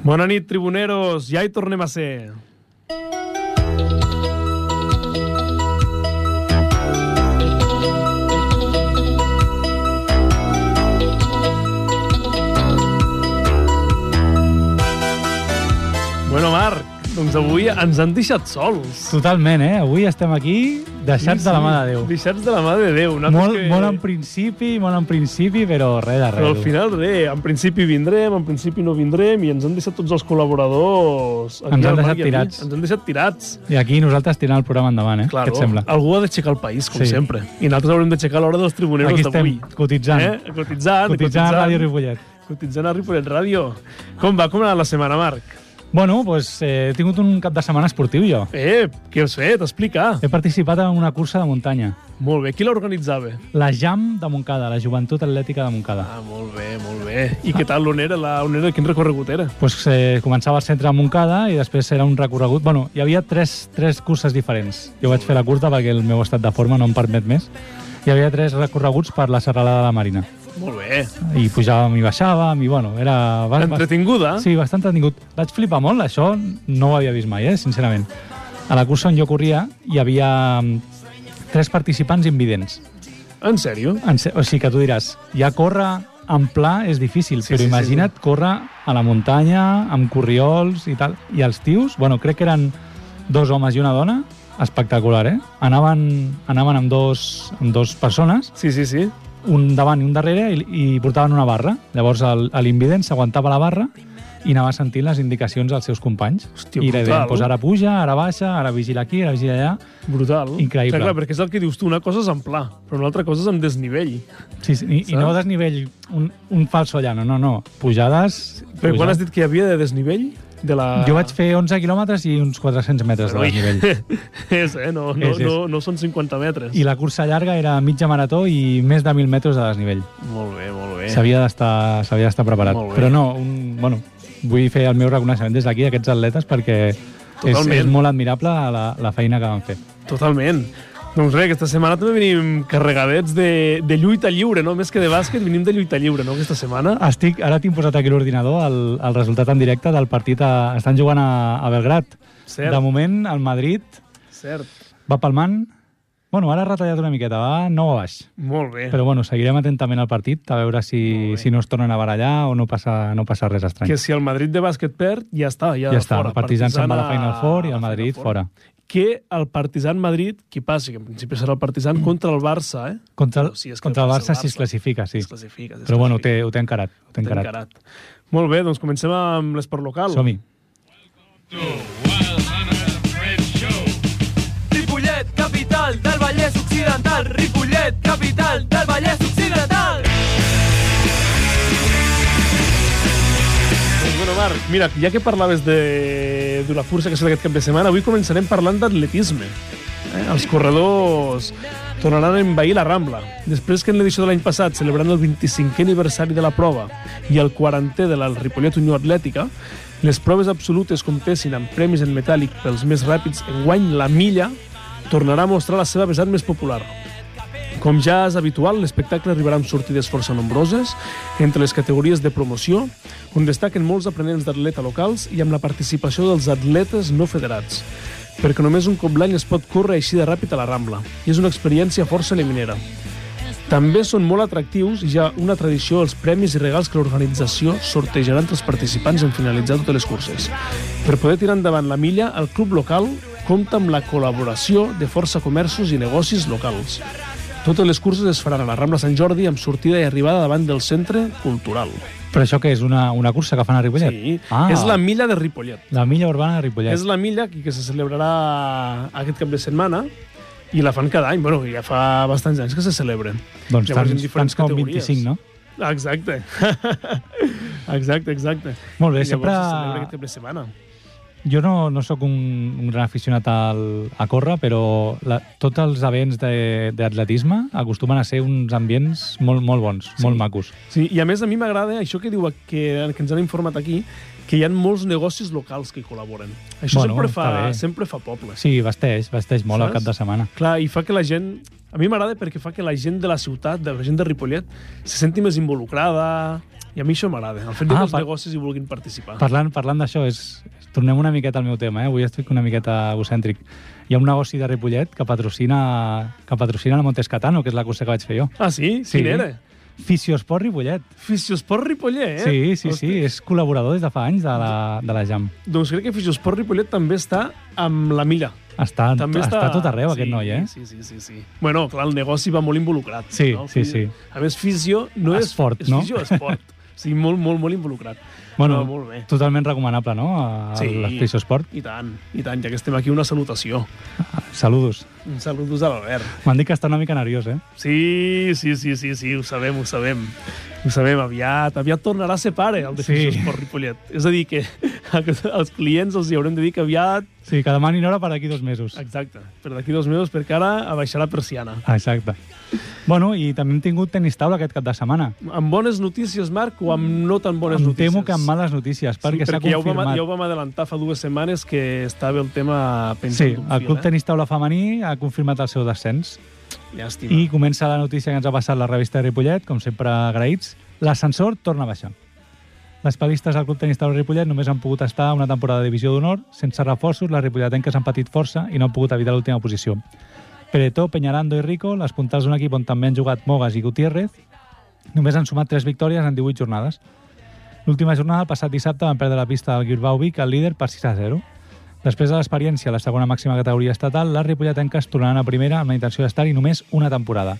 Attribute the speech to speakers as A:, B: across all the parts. A: Bona nit, tribuneros. Ja hi tornem a ser. Bueno, Marc, doncs avui ens han deixat sols.
B: Totalment, eh? Avui estem aquí deixats sí, sí. de la mà de Déu.
A: Deixats de la mà de Déu. Nosaltres
B: Molt, molt en principi, molt en principi, però res de res.
A: Però al final, res, en principi vindrem, en principi no vindrem, i ens han deixat tots els col·laboradors... aquí
B: Ens han
A: al Marc
B: deixat
A: i a mi.
B: tirats.
A: Ens han deixat tirats.
B: I aquí nosaltres tirant el programa endavant, eh?
A: Claro,
B: Què et sembla?
A: algú ha d'aixecar el país, com sí.
B: Sí.
A: sempre. I nosaltres haurem d'aixecar l'hora dels tribuneros
B: Aquí estem
A: d'avui.
B: cotitzant.
A: Eh? Cotitzant,
B: Cotitzant a Ràdio Ripollet.
A: Cotitzant a Ripollet Ràdio. Com va? Com ha anat la setmana, Marc?
B: Bueno, doncs eh, he tingut un cap de setmana esportiu, jo.
A: Eh, què has fet? Explica.
B: He participat en una cursa de muntanya.
A: Molt bé. Qui l'organitzava?
B: La JAM de Montcada, la Joventut Atlètica de Montcada.
A: Ah, molt bé, molt bé. I què tal on era? La, on era? Quin recorregut era?
B: Pues, eh, començava al centre de Montcada i després era un recorregut... Bueno, hi havia tres, tres curses diferents. Jo vaig fer la curta perquè el meu estat de forma no em permet més. Hi havia tres recorreguts per la serralada de la Marina.
A: Molt bé.
B: I pujàvem i baixàvem i, bueno, era... bas- bas-
A: Entretinguda?
B: Sí, bastant entretingut. Vaig flipar molt, això no ho havia vist mai, eh, sincerament. A la cursa on jo corria hi havia mm, tres participants invidents.
A: En sèrio?
B: En se- O sigui que tu diràs, ja córrer en pla és difícil,
A: Sí,
B: sí, però
A: sí,
B: sí,
A: sí,
B: imagina't sí, córrer a la muntanya, amb corriols i tal. I els tios, bueno, crec que eren dos homes i una dona, espectacular, eh? Anaven, anaven amb, dos, amb dos persones,
A: Sí, sí, sí.
B: un davant i un darrere, i, i portaven una barra. Llavors el- a l'invident s'aguantava la barra i anava sentint les indicacions dels seus companys.
A: Hòstia,
B: I li
A: brutal. eh?"
B: deien, pues ara puja, ara baixa, ara vigila aquí, ara vigila allà.
A: Brutal.
B: Increïble.
A: Clar, clar, perquè és el que dius tu, una cosa és en pla, però una altra cosa és en desnivell.
B: Sí, sí, i, i no
A: Saps?
B: desnivell, un, un falso allà, no, no, no. Pujades...
A: Però quan
B: pujades.
A: has dit que hi havia de desnivell? De la...
B: Jo vaig fer 11 quilòmetres i uns 400 metres de
A: Ui.
B: desnivell.
A: és, eh? No, no,
B: És, és.
A: no, no són 50 metres.
B: I la cursa llarga era mitja marató i més de 1.000 metres de desnivell.
A: Molt bé, molt bé.
B: S'havia d'estar s'havia d'estar preparat.
A: Molt bé.
B: Però no, un, bueno, vull fer el meu reconeixement des d'aquí a aquests atletes perquè és,
A: Totalment.
B: és molt admirable la, la feina que van fer.
A: Totalment. Doncs res, aquesta setmana també venim carregadets de, de lluita lliure, no? Més que de bàsquet, venim de lluita lliure, no? Aquesta setmana.
B: Estic, ara tinc posat aquí a l'ordinador el, el resultat en directe del partit. A, estan jugant a, a Belgrat.
A: Cert.
B: De moment, el Madrid
A: Cert.
B: va palmant... Bueno, ara ha retallat una miqueta, va 9 a baix.
A: Molt bé.
B: Però bueno, seguirem atentament al partit a veure si, si no es tornen a barallar o no passa, no passa res estrany.
A: Que si el Madrid de bàsquet perd, ja està, ja,
B: Ja està,
A: fora.
B: el Partizan se'n va a la
A: Partizan
B: Final Four i
A: a
B: el
A: la
B: Madrid
A: Final Four.
B: fora.
A: Que el Partizan Madrid, qui passi, que en principi serà el Partizan, contra el Barça, eh?
B: Contra el,
A: Si és que
B: contra el
A: passa el
B: Barça si es
A: Barça.
B: classifica, sí.
A: Es classifica. es
B: Però bueno, ho
A: classifica.
B: té, ho té encarat. Ho té
A: Té
B: encarat.
A: encarat. Molt bé, doncs comencem amb l'esport local.
B: Som-hi.
C: Ripollet, capital del Vallès Occidental. Ripollet, capital del Vallès Occidental.
A: Doncs Bueno, Marc, mira, ja que parlaves de- d'una cursa que serà aquest cap de setmana, avui començarem parlant d'atletisme. Eh? Els corredors tornaran a envair la Rambla. Després que en l'edició de l'any passat, celebrant el 25è aniversari de la prova i el 40è de la Ripollet Unió Atlètica, les proves absolutes comptessin amb premis en metàl·lic pels més ràpids, enguany la milla tornarà a mostrar la seva vessant més popular, com ja és habitual, l'espectacle arribarà amb sortides força nombroses entre les categories de promoció, on destaquen molts aprenents d'atleta locals i amb la participació dels atletes no federats, perquè només un cop l'any es pot córrer així de ràpid a la Rambla, i és una experiència força eliminera. També són molt atractius i ja una tradició els premis i regals que l'organització sortejarà entre els participants en finalitzar totes les curses. Per poder tirar endavant la milla, el club local compta amb la col·laboració de força comerços i negocis locals. Totes les curses es faran a la Rambla Sant Jordi amb sortida i arribada davant del centre cultural.
B: Però això què és? Una, una cursa que fan a Ripollet?
A: Sí,
B: Ah,
A: és la milla de Ripollet.
B: la milla urbana de Ripollet.
A: És la milla que que se celebrarà aquest cap de setmana i la fan cada any. Bueno, ja fa bastants anys que se celebra.
B: Doncs
A: Llavors, en
B: tants,
A: diferents
B: tants com
A: categories.
B: 25, no?
A: Exacte. exacte, exacte.
B: Molt bé,
A: I llavors
B: sempre-
A: se celebra aquest cap de setmana.
B: Jo no, no sóc un, un gran aficionat al, a córrer, però la, tots els events de- d'atletisme acostumen a ser uns ambients molt, molt bons, sí. molt macos.
A: Sí, i a més a mi m'agrada això que diu que, que ens han informat aquí, que hi ha molts negocis locals que hi col·laboren. Això
B: Bueno,
A: sempre, fa,
B: està bé.
A: sempre fa poble.
B: Sí, vesteix, vesteix molt al
A: Saps?
B: cap de setmana.
A: Clar, i fa que la gent A mi m'agrada perquè fa que la gent de la ciutat, de la gent de Ripollet, se senti més involucrada, i a mi això m'agrada, el fet de
B: Ah,
A: que els
B: per-
A: negocis hi vulguin participar.
B: Parlant, parlant d'això, és... tornem una miqueta al meu tema, eh? avui estic una miqueta egocèntric. Hi ha un negoci de Ripollet que patrocina, que patrocina la Montescatano, que és la cursa que vaig fer jo.
A: Ah, sí? sí.
B: Sí.
A: Quin era?
B: Fisiosport Ripollet.
A: Fisiosport Ripollet, eh?
B: Sí, sí,
A: Hosti.
B: sí, és col·laborador des de fa anys de la, de la Jam.
A: Doncs crec que Fisiosport Ripollet també està amb la milla.
B: Està,
A: També
B: està,
A: està
B: està tot arreu,
A: sí,
B: sí, aquest noi, eh?
A: Sí, sí, sí, sí. Bueno, clar, el negoci va molt involucrat.
B: Sí,
A: no?
B: sí, sí.
A: A més, fisio no és...
B: Esport,
A: és
B: no?
A: Fisio esport. sí, molt, molt, molt involucrat.
B: Bueno,
A: no, molt bé.
B: totalment recomanable, no?, a
A: Sí.
B: sí. l'Esport.
A: I tant, i tant, ja que estem aquí, una salutació.
B: Saludos.
A: Un saludos a l'Albert.
B: M'han dit que està una mica nerviós, eh?
A: Sí, sí, sí, sí, sí, ho sabem, ho sabem. Ho sabem, aviat, aviat tornarà a ser pare el de
B: Sí.
A: Fisiosport Ripollet. És a dir, que als clients els hi haurem de dir que aviat...
B: Sí, que demanin hora per d'aquí dos mesos.
A: Exacte, per d'aquí dos mesos, perquè ara abaixarà persiana.
B: Exacte. Bueno, i també hem tingut tenis taula aquest cap de setmana.
A: Amb bones notícies, Marc, o amb no tan bones
B: em
A: notícies?
B: temo que amb males notícies, perquè s'ha
A: ja ho, vam,
B: confirmat.
A: ja ho vam adelantar fa dues setmanes que estava el tema
B: Sí,
A: pensat
B: el Club Tenis Taula Femení ha confirmat el seu descens
A: Llàstima.
B: i comença la notícia que ens ha passat la revista de Ripollet, com sempre agraïts. L'ascensor torna a baixar. Les palistes del Club Tenis Taula Ripollet només han pogut estar una temporada de divisió d'honor, sense reforços, les ripolletenques han patit força i no han pogut evitar l'última posició. Peretó, Peñarando i Rico, les puntals d'un equip on també han jugat Mogas i Gutiérrez, només han sumat 3 victòries en 18 jornades. L'última jornada, el passat dissabte, van perdre la pista del Bilbao Vic, el líder, per 6 a 0. Després de l'experiència a la segona màxima categoria estatal, les ripolletenques tornaran a primera amb la intenció d'estar-hi només una temporada.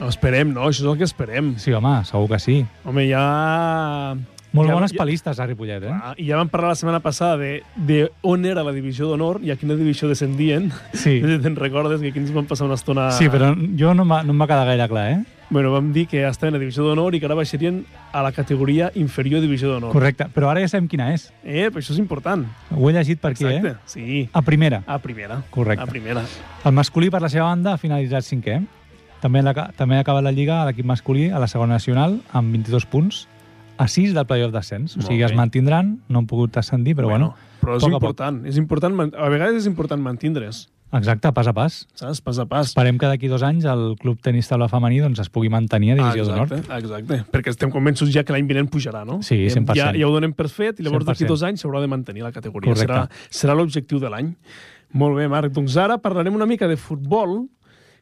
A: Esperem, no? Això és el que esperem.
B: Sí, home, segur que sí.
A: Home, ja...
B: Molt
A: ja,
B: bones
A: ja,
B: palistes a Ripollet, eh?
A: Ah, I ja vam parlar la setmana passada de, de on era la divisió d'honor i a quina divisió descendien.
B: Sí.
A: No sé si Te'n recordes que aquí ens vam passar una estona...
B: Sí, però jo no em va, no em va quedar gaire clar, eh?
A: Bueno, vam dir que estaven a divisió d'honor i que ara baixarien a la categoria inferior divisió d'honor.
B: Correcte, però ara ja sabem quina és.
A: Eh, però això és important.
B: Ho he llegit per aquí,
A: Exacte,
B: eh?
A: sí.
B: A primera.
A: A primera.
B: Correcte.
A: A primera.
B: El masculí, per la seva banda, ha finalitzat cinquè. També, la, també ha acabat la Lliga a l'equip masculí a la segona nacional amb 22 punts a 6 del playoff d'ascens. O
A: Molt
B: sigui, es
A: bé.
B: mantindran, no han pogut ascendir, però bueno,
A: però és
B: poc a poc.
A: important. És important, man- a vegades és important mantindre's,
B: exacte, pas a pas.
A: saps? Pas a pas.
B: Esperem que d'aquí dos anys el club tenis taula femení doncs, es pugui mantenir a Divisió d'Honor.
A: exacte, exacte, perquè estem convençuts ja que l'any vinent pujarà, no?
B: Sí, 100%.
A: Ja, ja ho donem per fet i llavors d'aquí
B: 100%.
A: dos anys s'haurà de mantenir la categoria. Serà,
B: Correcte.
A: serà l'objectiu de l'any. Molt bé, Marc. Doncs ara parlarem una mica de futbol,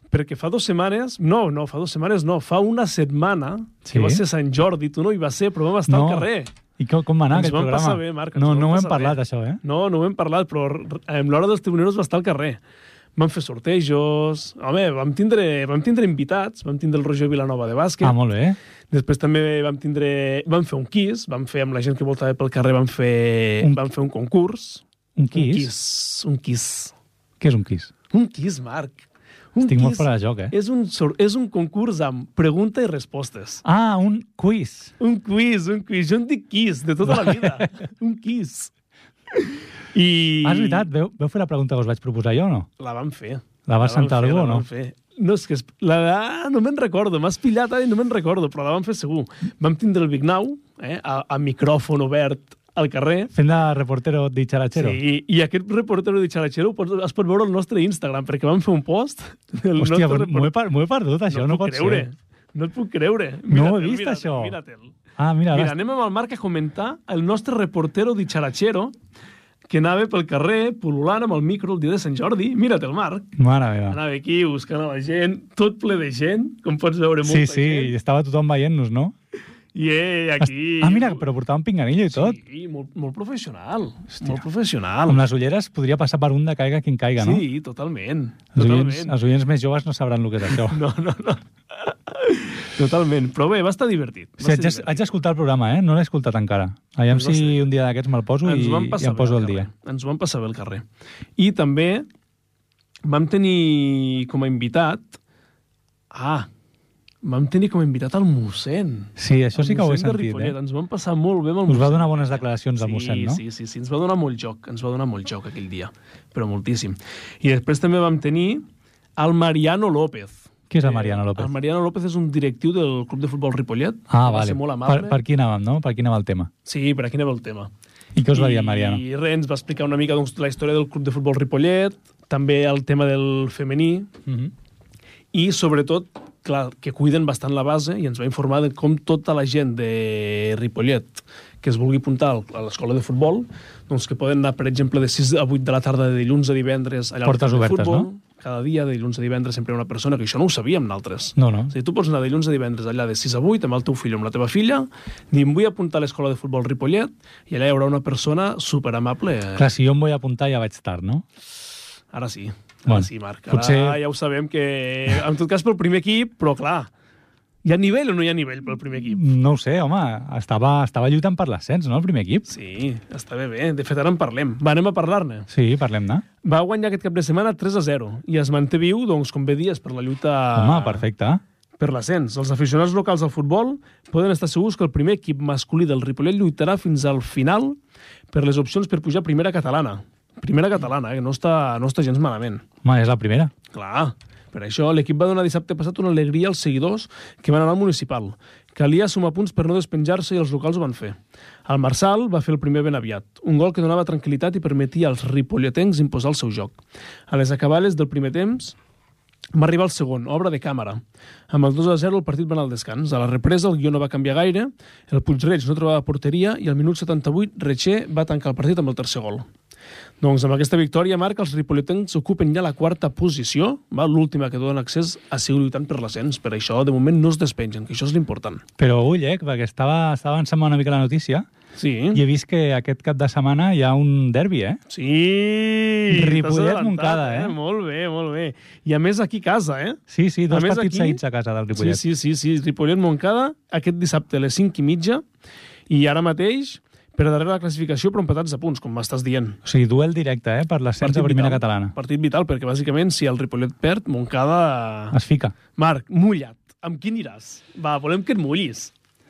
A: perquè fa dues setmanes, no, no, fa dues setmanes no, fa una setmana,
B: Sí.
A: que va ser Sant Jordi, tu no hi vas ser, però vam estar
B: No.
A: al carrer.
B: I com, com va anar
A: Ens
B: aquest
A: vam
B: programa?
A: passar bé, Marc, ens
B: no,
A: vam
B: no ho hem
A: passar
B: parlat,
A: bé.
B: això, eh?
A: No, no ho hem parlat, però r- en l'hora dels tribuneros va estar al carrer. Van fer sortejos... Home, vam tindre, vam tindre invitats, vam tindre el Roger Vilanova de bàsquet,
B: Ah, molt bé.
A: després també vam tindre... Vam fer un quiz, vam fer amb la gent que voltava pel carrer, vam fer
B: Un-
A: un, vam fer un concurs.
B: Un quiz?
A: Un quiz, un quiz.
B: Què és un quiz?
A: Un quiz, Marc. Un
B: Estic
A: quiz
B: molt fora de joc, eh?
A: És un, sor- és un concurs amb pregunta i respostes.
B: Ah, un quiz.
A: Un quiz, un quiz. Jo en dic quiz, de tota la vida. un quiz. I...
B: Ah, és veritat, veu, veu fer la pregunta que us vaig proposar jo o no?
A: La van fer.
B: La vas
A: van
B: sentar
A: fer,
B: algú o
A: la
B: no?
A: van fer. No, és que es- la, ah, no me'n recordo, m'has pillat ara i no me'n recordo, però la van fer segur. Vam tindre el Big Now, eh, a, a micròfon obert al carrer,
B: Fent de reportero de Xarachero.
A: Sí, i, i aquest reportero de Xaratxero es pot veure al nostre Instagram, perquè vam fer un post. del nostre
B: Hòstia, però
A: repor-
B: m'ho he, per- m'ho he perdut, això,
A: no, et
B: no,
A: puc
B: pot
A: creure.
B: ser.
A: No et puc creure.
B: No ho he
A: Mira-te'l,
B: vist,
A: mira-te'l,
B: això.
A: Mira-te'l.
B: Ah, mira,
A: Mira,
B: mira
A: anem amb el Marc a comentar el nostre reportero de Xaratxero, que anava pel carrer pol·lulant amb el micro el dia de Sant Jordi. Mira't el Marc.
B: mare meva.
A: Anava aquí buscant a la gent, tot ple de gent, com pots veure, molta
B: Sí, sí, i
A: gent.
B: estava tothom veient-nos, no?
A: I eh, aquí...
B: Ah, mira, però portava un pinganillo i tot.
A: Sí, molt, molt professional. Hòstia. Molt professional.
B: Amb les ulleres podria passar per un de caiga quin caiga, no?
A: Sí, totalment.
B: Els oients,
A: Totalment.
B: els oients més joves no sabran el que és això.
A: No, no, no. Totalment. Però bé, va estar divertit.
B: Sí,
A: Va
B: haig,
A: ser
B: de- haig d'escoltar el programa, eh? No l'he escoltat encara. Aviam
A: Doncs no
B: si un dia d'aquests me'l poso i,
A: Ens ho vam
B: i
A: passar
B: em
A: bé
B: poso
A: eh,
B: al
A: carrer.
B: dia.
A: Ens ho vam passar bé al carrer. I també vam tenir com a invitat... Ah, vam tenir com a invitat el mossèn.
B: Sí, això
A: El
B: sí que ho he
A: mossèn de
B: sentit,
A: Ripollet.
B: eh?
A: Ens ho vam passar molt bé amb el
B: Us va
A: mossèn.
B: donar bones declaracions al mossèn, no?
A: Sí, sí, sí, ens va donar molt joc, ens va donar molt joc aquell dia, però moltíssim. I després també vam tenir el Mariano López. Eh,
B: Qui és el Mariano López?
A: El Mariano López és un directiu del Club de Futbol Ripollet.
B: Ah,
A: que va
B: vale.
A: ser molt amable.
B: Per, per qui anàvem, no? Per qui anava el tema?
A: Sí, per aquí anava el tema.
B: I què us va dir el Mariano?
A: I res, ens va explicar una mica doncs, la història del Club de Futbol Ripollet, també el tema del femení,
B: Mhm.
A: i sobretot clar, que cuiden bastant la base i ens va informar de com tota la gent de Ripollet que es vulgui apuntar al- a l'escola de futbol, doncs que poden anar, per exemple, de 6 a 8 de la tarda de dilluns a divendres allà
B: Portes
A: al camp de
B: obertes,
A: futbol.
B: no?
A: Cada dia, de dilluns a divendres, sempre hi ha una persona, que això no ho sabíem nosaltres.
B: No, no.
A: O sigui, tu pots anar dilluns a divendres allà de 6 a 8 amb el teu fill o amb la teva filla, dir, em vull apuntar a l'escola de futbol Ripollet, i allà hi haurà una persona superamable. Eh,
B: Clar, si jo em vull apuntar ja vaig tard, no?
A: Ara sí. Ara
B: Bueno,
A: bueno, sí, Marc. Ara
B: potser-
A: potser... ja ho sabem que... En tot cas, pel primer equip, però clar, hi ha nivell o no hi ha nivell pel primer equip?
B: No ho sé, home, estava, estava lluitant per l'ascens, no?, el primer equip.
A: Sí, està bé, bé. De fet, ara en parlem. Va, anem a parlar-ne.
B: Sí, parlem-ne.
A: Va guanyar aquest cap de setmana 3 a 0 i es manté viu, doncs, com bé dies, per la lluita
B: Home, perfecte.
A: per l'ascens. Els aficionats locals al futbol poden estar segurs que el primer equip masculí del Ripollet lluitarà fins al final per les opcions per pujar a primera catalana. Primera catalana, eh? que no està, no està gens malament.
B: Home, és la primera.
A: Clar, per això l'equip va donar dissabte passat una alegria als seguidors que van anar al municipal. Calia sumar punts per no despenjar-se i els locals ho van fer. El Marçal va fer el primer ben aviat, un gol que donava tranquil·litat i permetia als ripolletens imposar el seu joc. A les acabades del primer temps, va arribar el segon, obra de càmera. Amb el 2 a 0 el partit va anar al descans. A la represa el guió no va canviar gaire, el Puigreig no trobava porteria i al minut 78 Retxer va tancar el partit amb el tercer gol. Doncs amb aquesta victòria, Marc, els ripolletans ocupen ja la quarta posició, va, l'última que dona accés a seguir lluitant per l'ascens. Per això, de moment, no es despengen, que això és l'important.
B: Però ull, eh, perquè estava, estava avançant una mica la notícia
A: Sí,
B: i he vist que aquest cap de setmana hi ha un derbi, eh?
A: sí. t'has
B: Ripollet,
A: adelantat,
B: Montcada, eh?
A: Molt bé, molt bé. I a més aquí a casa, eh?
B: Sí, sí, dos
A: A més,
B: partits
A: aquí-
B: seguits a casa del Ripollet.
A: Sí, sí, sí, sí. Ripollet-Montcada, aquest dissabte a les 5 i mitja, i ara mateix, per darrere la classificació, però empatats a punts, com m'estàs dient.
B: O sigui, duel directe, eh?, per l'ascens de primera
A: vital.
B: catalana.
A: Partit vital, perquè bàsicament si el Ripollet perd, Montcada...
B: Es fica.
A: Marc, mullat. Amb qui aniràs? Va, volem que et mullis.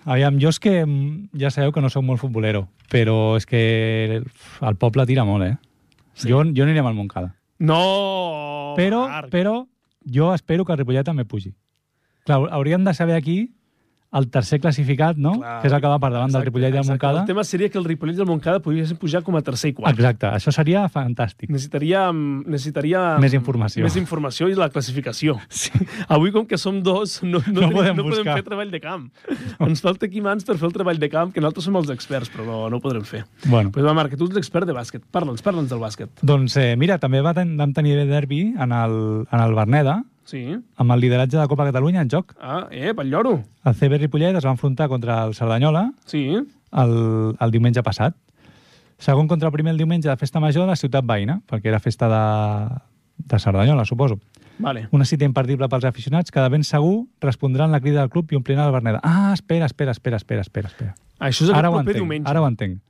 B: Aviam, jo és que mm, ja sabeu que no sóc molt futbolero, però és que el poble tira molt, eh? Sí. Jo, jo anirem al Montcada.
A: No,
B: però,
A: Oh, Marc.
B: però jo espero que el Ripollet també pugi. Clar, hauríem de saber aquí el tercer classificat, no?
A: Clar.
B: que és el que va per davant del Ripollet i el
A: Exacte.
B: Montcada.
A: El tema seria que el Ripollet i el Montcada podrien pujar com a tercer i quart.
B: Exacte, això seria fantàstic.
A: Necessitaríem, necessitaríem...
B: Més informació.
A: Més informació i la classificació. Sí. Avui, com que som dos, no, no,
B: No
A: tenim-
B: podem
A: no podem
B: buscar.
A: fer treball de camp. Ens falta aquí mans per fer el treball de camp, que nosaltres som els experts, però no, no ho podrem fer.
B: Bueno,
A: Pues va, Marc, que tu ets l'expert de bàsquet. Parla'ns, parla'ns del bàsquet.
B: doncs eh, mira, també va ten vam tenir derbi en el, en el Berneda,
A: Sí.
B: amb el lideratge de Copa Catalunya en joc.
A: Ah, eh, pel lloro.
B: El CB Ripollet es va enfrontar contra el Cerdanyola,
A: Sí.
B: el, el diumenge passat. Segon contra el primer el diumenge de festa major de la ciutat veïna, perquè era festa de, de Cerdanyola, suposo.
A: Vale.
B: Una cita imperdible pels aficionats que de ben segur respondran la crida del club i ompliran el Berneda. Ah, espera, espera, espera, espera, espera. espera.
A: Això és aquest
B: Ara ho
A: proper
B: entenc,
A: diumenge.
B: ara ho entenc.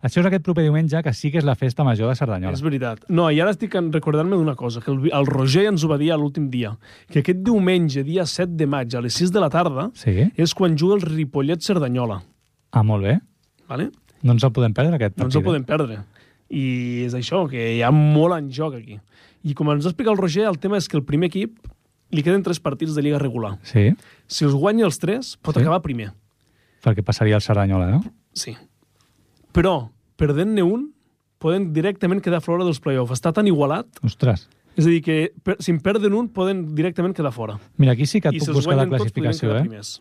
B: Això és aquest proper diumenge que sí que és la festa major de Cerdanyola.
A: És veritat. No, i ara estic en- recordant-me d'una cosa, que el, el Roger ens ho va dir a l'últim dia, que aquest diumenge, dia 7 de maig, a les 6 de la tarda,
B: Sí?
A: és quan juga el Ripollet-Cerdanyola.
B: Ah, molt bé.
A: Vale?
B: No ens el podem perdre, aquest
A: No
B: partit.
A: ens el
B: eh?
A: podem perdre. I és això, que hi ha molt en joc aquí. I com ens va explicar el Roger, el tema és que el primer equip li queden tres partits de lliga regular.
B: Sí,
A: Si els guanya els tres, pot
B: Sí.
A: sí. acabar primer.
B: perquè passaria el Cerdanyola, eh? no?
A: Sí. Però, perdent-ne un, poden directament quedar fora dels play-offs. Està tan igualat,
B: Ostres.
A: és a dir, que per, si en perden un, poden directament quedar fora.
B: Mira, aquí sí que et
A: I
B: puc
A: si els
B: buscar la
A: guanyen tots, podrien
B: classificació,
A: quedar
B: eh?
A: primers.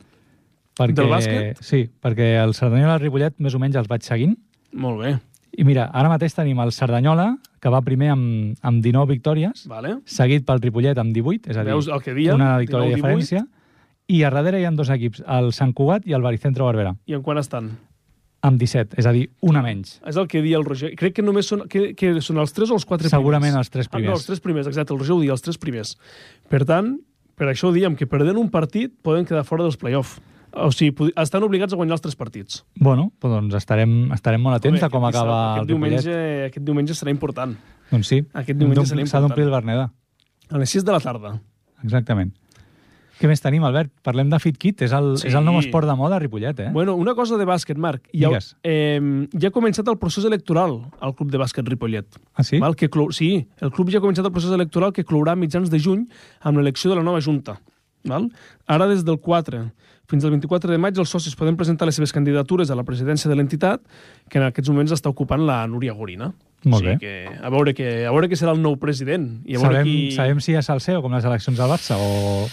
B: Perquè,
A: Del bàsquet?
B: Sí, perquè el Cerdanyola i el Ripollet més o menys els vaig seguint.
A: Molt bé,
B: I mira, ara mateix tenim el Cerdanyola, que va primer amb, amb 19 victòries,
A: vale.
B: seguit pel Ripollet amb 18, és a dir,
A: Veus el que diem,
B: una
A: 19,
B: victòria de diferència. I a darrere hi ha dos equips, el Sant Cugat i el Baricentro Barberà,
A: I en quan estan?
B: amb 17, és a dir, una menys.
A: És el que dia el Roger. Crec que només són, que, que són els tres o els quatre primers.
B: Segurament els tres primers.
A: Ah, no, els tres primers, exacte. El Roger ho dia, els tres primers. Per tant, per això ho diem, que perdent un partit poden quedar fora dels play-off. O sigui, pod- estan obligats a guanyar els tres partits.
B: Bueno, doncs estarem, estarem molt atents a com
A: aquest dissabte-
B: acaba el
A: aquest
B: Ripollet.
A: diumenge, aquest diumenge serà important.
B: Doncs sí,
A: aquest diumenge serà
B: d'omplir- s'ha d'omplir el Berneda.
A: A les 6 de la tarda.
B: Exactament. Què més tenim, Albert? Parlem de FitKit, és el,
A: Sí.
B: és el nou esport de moda a Ripollet, eh?
A: Bueno, una cosa de bàsquet, Marc. Ja,
B: Digues.
A: eh, ja ha començat el procés electoral al Club de Bàsquet Ripollet.
B: ah, sí?
A: Val, que clou... Sí, el club ja ha començat el procés electoral que clourà a mitjans de juny amb l'elecció de la nova Junta. Val? Ara, des del 4 fins al 24 de maig, els socis poden presentar les seves candidatures a la presidència de l'entitat, que en aquests moments està ocupant la Núria Gorina.
B: Molt
A: o
B: bé.
A: sigui que, a, veure que, a veure què serà el nou president. I a veure
B: sabem,
A: qui...
B: sabem si és el seu, com les eleccions al Barça, o...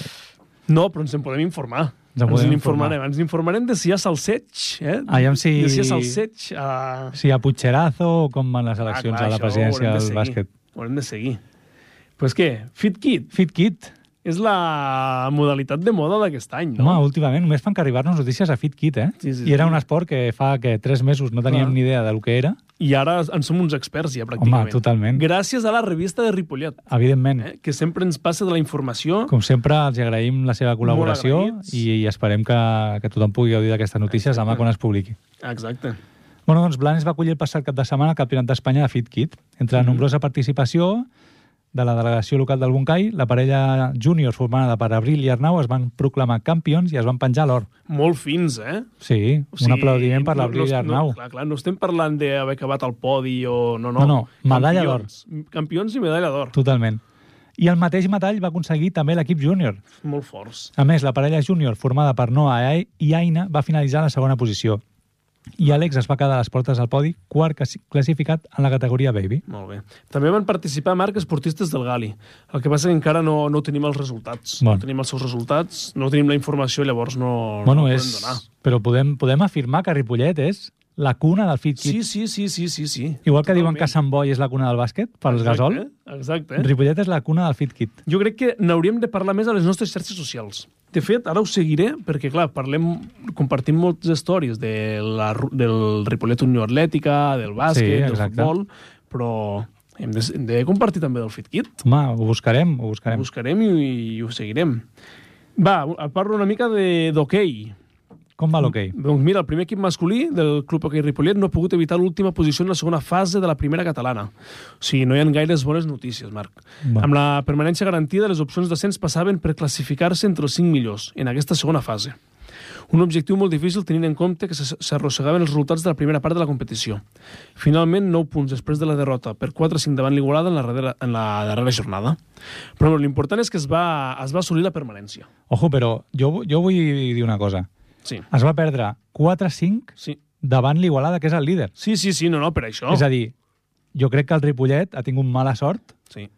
A: No, però ens en podem informar.
B: Ens en
A: ens
B: podem
A: en
B: informar. Ah,
A: informarem. Ens informarem de si hi ha salseig, eh?
B: Aviam si-
A: De si hi ha salseig a...
B: Si a Puigcherazo o com van les eleccions a la
A: ah, això ho
B: presidència
A: haurem de
B: del
A: seguir.
B: bàsquet.
A: Ho haurem de seguir. Doncs pues què? FitKit
B: FitKit.
A: és la modalitat de moda d'aquest any,
B: No?
A: no?
B: Home, últimament només fan que arribar-nos notícies a FitKit, eh?
A: Sí, sí,
B: I era
A: sí. Ah.
B: un esport que fa que tres mesos no teníem
A: Clar.
B: ni idea del que era.
A: I ara en som uns experts, ja, pràcticament.
B: totalment.
A: Gràcies a la revista de Ripollet,
B: Evidentment,
A: eh? que sempre ens passa de la informació.
B: com sempre, els agraïm la seva col·laboració
A: agraïts.
B: i, esperem que, que tothom pugui gaudir d'aquestes notícies demà quan es publiqui.
A: Exacte.
B: Bueno, doncs Blanes va acollir el passat cap de setmana el Campionat d'Espanya de FitKit. Entre la nombrosa participació de la delegació local del Bunkai, la parella júnior formada per Abril i Arnau es van proclamar campions i es van penjar l'or.
A: Molt fins, eh?
B: Sí, un aplaudiment per l'Abril i Arnau.
A: No, clar, clar, no estem parlant d'haver acabat al podi o... No, no.
B: No, no, medalla d'or.
A: Campions. Campions i medalla d'or.
B: Totalment. I el mateix metall va aconseguir també l'equip júnior.
A: Molt forts.
B: A més, la parella júnior formada per Noa Ai- i Aina va finalitzar a la segona posició. I Àlex es va quedar a les portes del podi, quart classi- classificat en la categoria Baby.
A: Molt bé. També van participar marques esportistes del Gali. El que passa que encara no, no tenim els resultats.
B: Bon.
A: No tenim els seus resultats, no tenim la informació, llavors no,
B: bueno,
A: no la
B: és...
A: podem donar.
B: Però podem, podem afirmar que Ripollet és la cuna del FitKit.
A: Sí, sí, sí, sí, sí, sí.
B: Igual que diuen
A: Totalment.
B: que Sant Boi és la cuna del bàsquet, per al gasol,
A: Exacte, eh? exacte.
B: Ripollet és la cuna del FitKit.
A: Jo crec que n'hauríem de parlar més a les nostres xarxes socials. De fet, ara ho seguiré, perquè, clar, parlem, compartim moltes històries de la, ru- del Ripollet Unió Atlètica, del bàsquet,
B: Sí,
A: del
B: exacte.
A: futbol, però hem de, hem de compartir també del FitKit.
B: Home, ho buscarem, ho
A: Ho
B: buscarem.
A: buscarem i, i ho seguirem. Va, parlo una mica de- d'hoquei.
B: Com va l'hoquei?
A: Doncs mira, el primer equip masculí del Club Hockey Ripollet no ha pogut evitar l'última posició en la segona fase de la primera catalana. O sigui, no hi ha gaires bones notícies, Marc.
B: Va.
A: Amb la permanència garantida, les opcions d'ascens passaven per classificar-se entre els 5 millors en aquesta segona fase. Un objectiu molt difícil tenint en compte que s'ass- s'arrossegaven els resultats de la primera part de la competició. Finalment, 9 punts després de la derrota per 4-5 davant l'Igualada en, la darrera- en la darrera jornada. Però bueno, l'important és que es va, es va assolir la permanència.
B: Ojo, però jo, vu- jo vull dir una cosa.
A: Sí,
B: Es va perdre 4-5
A: sí.
B: davant l'Igualada, que és el líder.
A: Sí, sí, sí, no, no, per això.
B: Oh. És a dir, jo crec que el Ripollet ha tingut mala sort
A: Sí.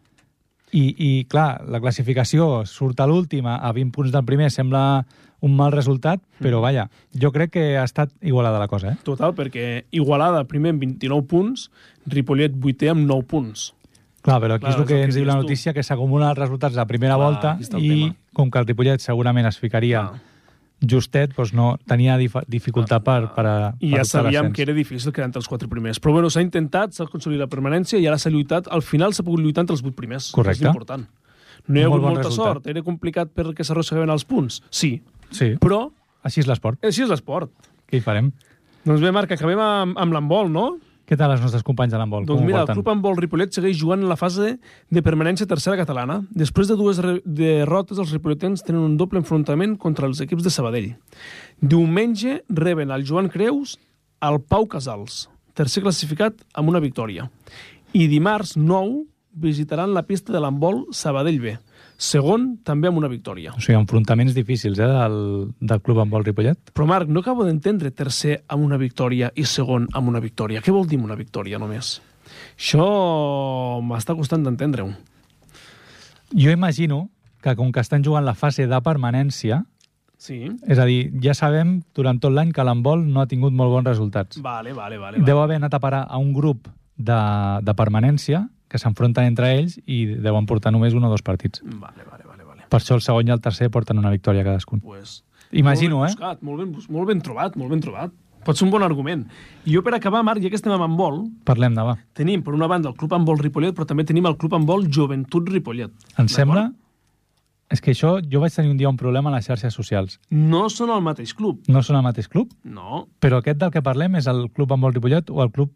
B: i, i clar, la classificació surt a l'última, a 20 punts del primer, sembla un mal resultat,
A: Mm.
B: però vaja, jo crec que ha estat igualada la cosa, eh?
A: Total, perquè Igualada primer amb 29 punts, Ripollet vuitè amb 9 punts.
B: Clar, però aquí
A: Clar,
B: és el que,
A: és el que
B: ens diu la
A: dius tu.
B: notícia, que s'acumulen els resultats de la primera
A: Clar,
B: volta
A: aquí està el
B: i
A: tema.
B: com que el Ripollet segurament es ficaria
A: Clar.
B: justet, doncs no tenia dif dificultat per, per, a,
A: I
B: per
A: ja
B: optar a
A: sabíem
B: l'ascens.
A: que era difícil quedar entre els quatre primers. Però bueno, s'ha intentat, s'ha aconseguit la permanència i ara s'ha lluitat. Al final s'ha pogut lluitar entre els vuit primers.
B: Correcte.
A: És important. No hi ha
B: Molt
A: hagut
B: bon
A: molta
B: resultat.
A: sort. Era complicat perquè s'arrossegaven els punts. Sí,
B: Sí,
A: però
B: així és l'esport.
A: així és l'esport.
B: Què hi farem?
A: Doncs bé, Marc, acabem amb, amb l'handbol, no?
B: Què tal els nostres companys de l'handbol?
A: Doncs
B: Com ho
A: mira, el
B: porten?
A: club handbol Ripollet segueix jugant en la fase de permanència tercera catalana. Després de dues re- derrotes, els ripolletans tenen un doble enfrontament contra els equips de Sabadell. Diumenge reben el Joan Creus al Pau Casals, tercer classificat amb una victòria. I dimarts 9 visitaran la pista de l'handbol Sabadell B, segon també amb una victòria.
B: O sigui, enfrontaments difícils, eh, del, del club handbol Ripollet.
A: Però Marc, no acabo d'entendre tercer amb una victòria i segon amb una victòria. Què vol dir amb una victòria només? Això m'està costant d'entendre-ho.
B: Jo imagino que com que estan jugant la fase de permanència,
A: Sí.
B: és a dir, ja sabem durant tot l'any que l'handbol no ha tingut molt bons resultats.
A: Vale, vale, vale. vale.
B: Deu haver anat a parar a un grup de, de permanència que s'enfronten entre ells i deuen portar només un o dos partits.
A: Vale, vale, vale. vale.
B: Per això el segon i el tercer porten una victòria cadascun.
A: Pues,
B: Imagino,
A: molt ben
B: eh?
A: buscat, Molt ben, bus- molt ben trobat, molt ben trobat. Pot ser un bon argument. I jo, per acabar, Marc, ja que estem amb handbol,
B: Parlem demà.
A: tenim, per una banda, el Club Handbol Ripollet, però també tenim el Club Handbol Joventut Ripollet.
B: Em
A: D'acord?
B: sembla... És que això, jo vaig tenir un dia un problema a les xarxes socials.
A: No són el mateix club.
B: No són el mateix club,
A: No.
B: però aquest del que parlem és el club amb vol Ripollet o el club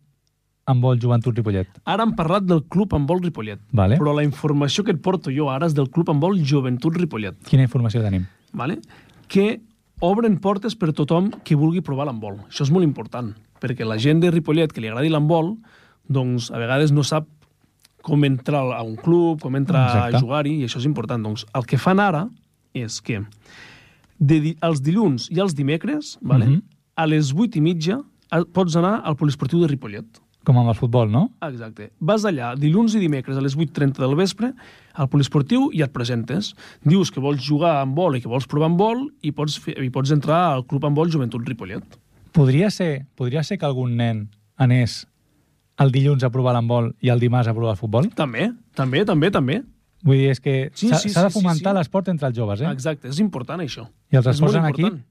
B: amb vol Joventut Ripollet.
A: Ara hem parlat del Club Handbol Ripollet.
B: Vale.
A: Però la informació que et porto jo ara és del Club Handbol Joventut Ripollet.
B: Quina informació tenim?
A: vale? que obren portes per tothom que vulgui provar l'handbol. Això és molt important, perquè la gent de Ripollet que li agradi l'handbol, doncs a vegades no sap com entrar a un club, com entrar
B: Exacte.
A: a jugar-hi, i això és important. Doncs el que fan ara és que de di els dilluns i eh, els dimecres, vale?
B: Mhm.
A: a les 8 i mitja, a- pots anar al poliesportiu de Ripollet.
B: Com amb el futbol, no?
A: Exacte. Vas allà dilluns i dimecres a les 8.30 del vespre al poliesportiu i et presentes. Dius que vols jugar amb vol i que vols provar amb vol i pots, fer, i pots entrar al club amb vol Joventut Ripollet.
B: Podria ser, podria ser que algun nen anés el dilluns a provar l'handbol i el dimarts a provar el futbol?
A: També, també, també, també.
B: Vull dir, és que
A: Sí,
B: s'ha
A: sí,
B: s'ha de
A: sí, sí,
B: fomentar
A: sí.
B: l'esport entre els joves, eh?
A: Exacte, és important això.
B: I els
A: És molt
B: esports en aquí,
A: important.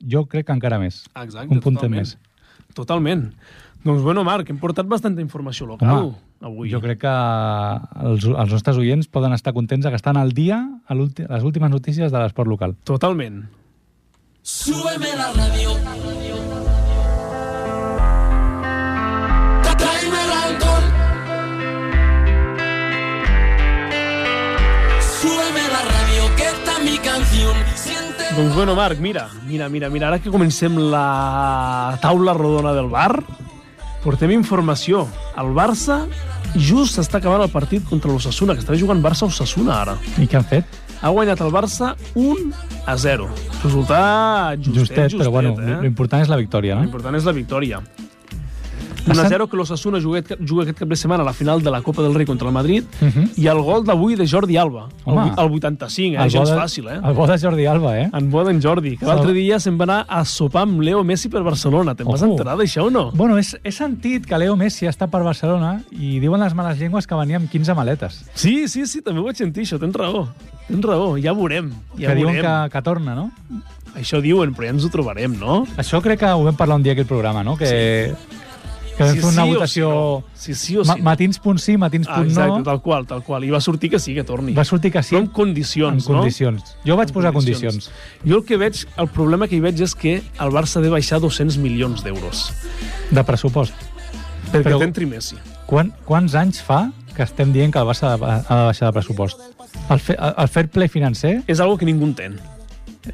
B: jo crec que encara més.
A: Exacte,
B: un puntet
A: totalment.
B: més.
A: Totalment. Doncs bueno, Marc, hem portat bastanta informació local
B: Home,
A: avui.
B: Jo crec que els, els nostres oients poden estar contents de que estan al dia a l'últi- les últimes notícies de l'esport local.
A: Totalment.
D: Súbeme la radio. Tráeme el alcohol. Súbeme la radio, que está mi canción. Siente.
A: Doncs bueno, Marc, mira, mira, mira, mira, ara que comencem la taula rodona del bar, portem informació. El Barça just està acabant el partit contra l'Ossassuna, que està jugant Barça-Ossassuna ara.
B: I què han fet?
A: Ha guanyat el Barça 1 a 0. Resultat justet, justet,
B: Justet, però bueno,
A: eh?
B: l'important és la victòria, no?
A: L'important és la victòria.
B: Passant-
A: 1-0 que l'Ossassuna juga, aquest- juga aquest cap de setmana a la final de la Copa del Rei contra el Madrid
B: Mhm.
A: i el gol d'avui de Jordi Alba, el,
B: Home.
A: vuit- el 85, eh? gens fàcil, eh?
B: El bo de Jordi Alba, eh?
A: En bo d'en Jordi, que l'altre dia se'n va anar a sopar amb Leo Messi per Barcelona. Te'n vas
B: Ojo.
A: enterar d'això o no?
B: Bueno, és, he sentit que Leo Messi està per Barcelona i diuen les males llengües que venia amb 15 maletes.
A: Sí, sí, sí, també ho vaig sentir, això. Tens raó. Tens raó, ja ho veurem. Ja
B: que
A: ho
B: diuen
A: veurem.
B: que, que torna, no?
A: Això diuen, però ja ens ho trobarem, no?
B: Això crec que ho vam parlar un dia aquí al programa, no? Que, que vam
A: Sí,
B: fer una
A: sí o
B: votació...
A: sí no. Sí, sí o
B: ma-
A: sí no.
B: Matins.sí,
A: Ah, exacte,
B: matins.no...
A: tal qual, tal qual. I va sortir que sí, que torni.
B: Va sortir que sí,
A: Però amb condicions,
B: en
A: no?
B: condicions. Jo vaig posar condicions.
A: Jo el que veig, el problema que hi veig és que el Barça ha de baixar 200 milions d'euros
B: de pressupost.
A: perquè
B: Però-
A: Però... t'entri Messi.
B: Quan, quants anys fa que estem dient que el Barça ha de- ha de baixar de pressupost? El, fe, el fair play financer
A: És algo que ningú entén.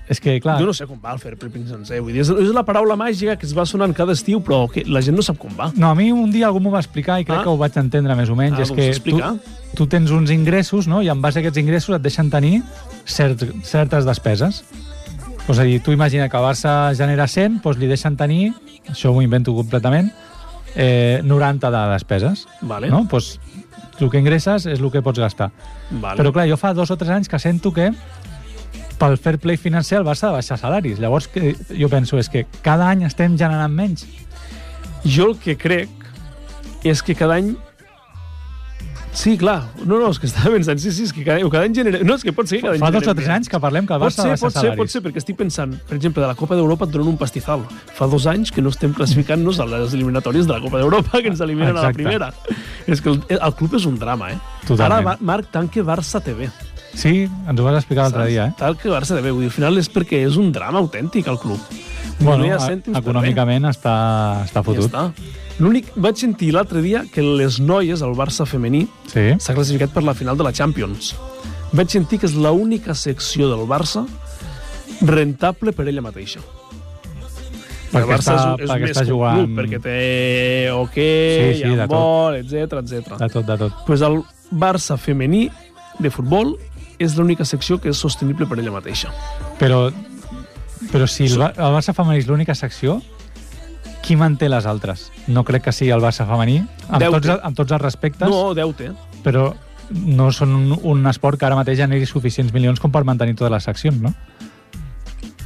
B: és que, clar,
A: Jo no sé com va el fair play financer. Vull dir, és, és la paraula màgica que es va sonant cada estiu, però que la gent no sap com va.
B: No, a mi un dia algú m'ho va explicar i crec
A: Ah.
B: que ho vaig entendre més o menys.
A: Ah,
B: és
A: doncs
B: que tu,
A: explica.
B: tu tens uns ingressos no? i en base a aquests ingressos et deixen tenir cert, certes despeses. És a dir, tu imagina que el Barça genera 100, doncs li deixen tenir, això m'ho invento completament, eh, 90 de despeses.
A: Vale.
B: No? Doncs el que ingresses és el que pots gastar.
A: Vale.
B: Però clar, jo fa dos o tres anys que sento que pel fair play financer el Barça ha de baixar salaris. Llavors, que, jo penso, és que cada any estem generant menys.
A: Jo el que crec és que cada any Sí, clar. No, no, és que estava pensant, sí, sí, és que cada, o cada any genera... No, és que pot ser que cada any
B: Fa dos
A: generem
B: o tres
A: més.
B: anys que parlem que el
A: Pot
B: Barça ha de
A: ser,
B: baixar
A: pot ser,
B: salaris.
A: pot ser, perquè estic pensant, per exemple, de la Copa d'Europa et donen un pastizal. Fa dos anys que no estem classificant-nos a les eliminatòries de la Copa d'Europa, que ens eliminen a la
B: Exacte.
A: primera. És que el, el club és un drama, eh?
B: Totalment.
A: Ara, Ba- Marc, tanque Barça TV.
B: Sí, ens ho vas explicar l'altre
A: saps?
B: dia, eh?
A: Tal que Barça TV. Vull dir, al final és perquè és un drama autèntic, el club. no hi ha
B: a-
A: cèntims per res.
B: econòmicament està, està fotut.
A: Ja està. L'únic... Vaig sentir l'altre dia que les noies, el Barça femení,
B: Sí.
A: s'ha classificat per la final de la Champions. Vaig sentir que és l'única secció del Barça rentable per ella mateixa.
B: Perquè
A: el Barça
B: està-
A: és, és
B: perquè
A: més
B: està
A: que un
B: jugant-
A: club, perquè té hoquei,
B: Sí,
A: sí,
B: sí, de
A: sí,
B: tot.
A: handbol, etc etc.
B: De tot, de tot.
A: Pues el Barça femení de futbol és l'única secció que és sostenible per ella mateixa.
B: Però, però si el, Ba- el Barça femení és l'única secció, qui manté les altres? No crec que sigui el Barça femení, amb,
A: Deute.
B: tots, el- amb tots els respectes,
A: No, deute. eh?
B: però no són un, un esport que ara mateix generi suficients milions com per mantenir totes les seccions, no?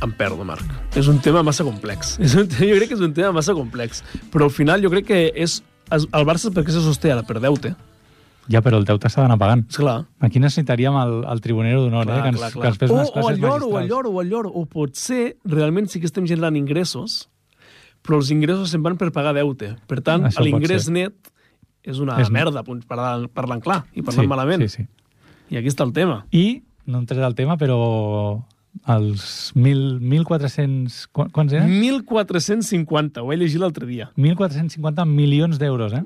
A: Em perdo, Marc. És un tema massa complex. És un, te- jo crec que és un tema massa complex. Però al final jo crec que és, es- el Barça perquè se sosté ara per deute.
B: Ja, però el deute s'ha d'anar pagant.
A: Esclar.
B: Aquí necessitaríem el, el tribunero d'honor, eh? que ens, que ens fes
A: o,
B: unes
A: o
B: classes
A: Oh, el lloro, o el
B: magistrals.
A: lloro, o el lloro. O potser realment sí que estem generant ingressos, però els ingressos se'n van per pagar deute. Per tant,
B: Això pot
A: l'ingrés
B: ser.
A: net és una
B: És-
A: és... merda, punt, parlant, parlant clar i parlant
B: sí,
A: malament.
B: Sí, sí.
A: I aquí està el tema.
B: I, no entraré al tema, però els 1.000 1.400... qu- Quants eren?
A: Mm. 1.450, ho he llegit l'altre dia.
B: 1.450 milions d'euros, eh?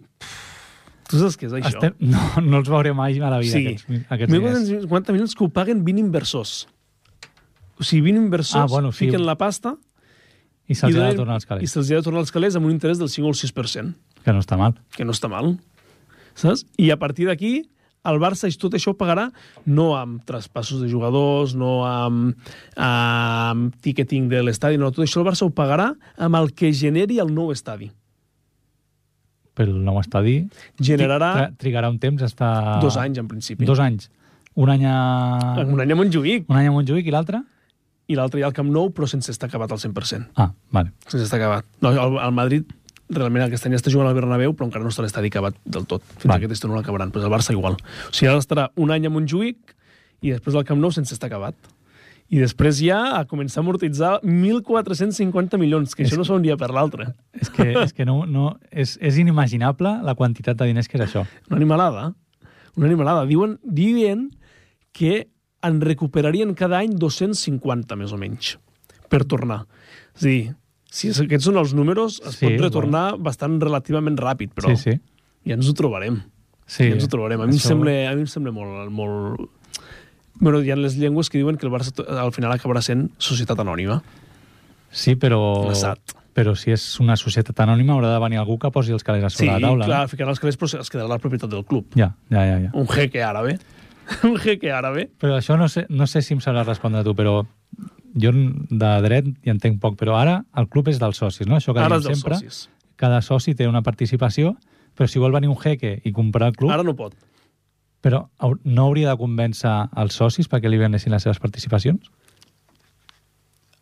A: Tu saps què és això?
B: Estem... No, no els veuré mai a la
A: O
B: vida,
A: sigui,
B: aquests, aquests diners.
A: 1.450 milions que ho paguen 20 inversors. O sigui, 20 inversors
B: Ah, bueno, sí.
A: fiquen la pasta
B: I se'ls
A: i
B: ha de
A: donen-
B: tornar els
A: i
B: calés,
A: se'ls ha de tornar els calés amb un interès del 5 o el 6%.
B: que no està mal.
A: que no està mal. Saps? I a partir d'aquí, el Barça i tot això ho pagarà no amb traspassos de jugadors, no amb, amb ticketing de l'estadi, no, tot això el Barça ho pagarà amb el que generi el nou estadi.
B: pel nou estadi.
A: Generarà
B: Tri- Trigarà un temps, està...
A: dos anys, en principi.
B: ah. Dos anys. Un any a...
A: Un any a Montjuïc
B: Un any a Montjuïc i l'altre?
A: i l'altre ja al Camp Nou, però sense estar acabat al 100%.
B: Ah, vale.
A: Sense estar acabat. No, el, el Madrid realment aquest any està jugant al Bernabéu, però encara no està a l'estadi acabat del tot. Fins Va.
B: Va.
A: aquest estiu no l'acabaran, però el Barça igual. O sigui, ara estarà un any a Montjuïc i després al Camp Nou sense estar acabat. I després ja a començar a amortitzar 1.450 milions, que això no són un dia per l'altre.
B: És que, és que no, no, és, és inimaginable la quantitat de diners que és això.
A: Una animalada. Una animalada. Diuen, diuen que en recuperarien cada any 250, més o menys, per tornar. És a dir, si és- aquests són els números, es
B: Sí,
A: sí, pot retornar bueno. bastant relativament ràpid, però
B: Sí, sí.
A: ja ens ho trobarem.
B: sí.
A: Ja ens ho trobarem. A mi, em, sembla, a mi em sembla molt... molt... Bueno, hi ha les llengües que diuen que el Barça to- al final acabarà sent societat anònima.
B: Sí, però...
A: Glaçat.
B: Però si és una societat anònima haurà de venir algú que posi els calés a
A: Sí,
B: sobre la taula. eh?
A: clar, ficarà els calés, però es quedarà la propietat del club.
B: Ja, ja, ja. ja.
A: Un jeque àrabe. Un jeque àrabe.
B: Però això no sé, no sé si em sabràs respondre tu, però jo n- de dret hi entenc poc, però ara el club és dels socis, no? Això que
A: Ara és
B: diem
A: dels
B: sempre.
A: socis.
B: Cada soci té una participació, però si vol venir un jeque i comprar el club,
A: Ara no pot.
B: però hau- no hauria de convèncer els socis perquè li venessin les seves participacions?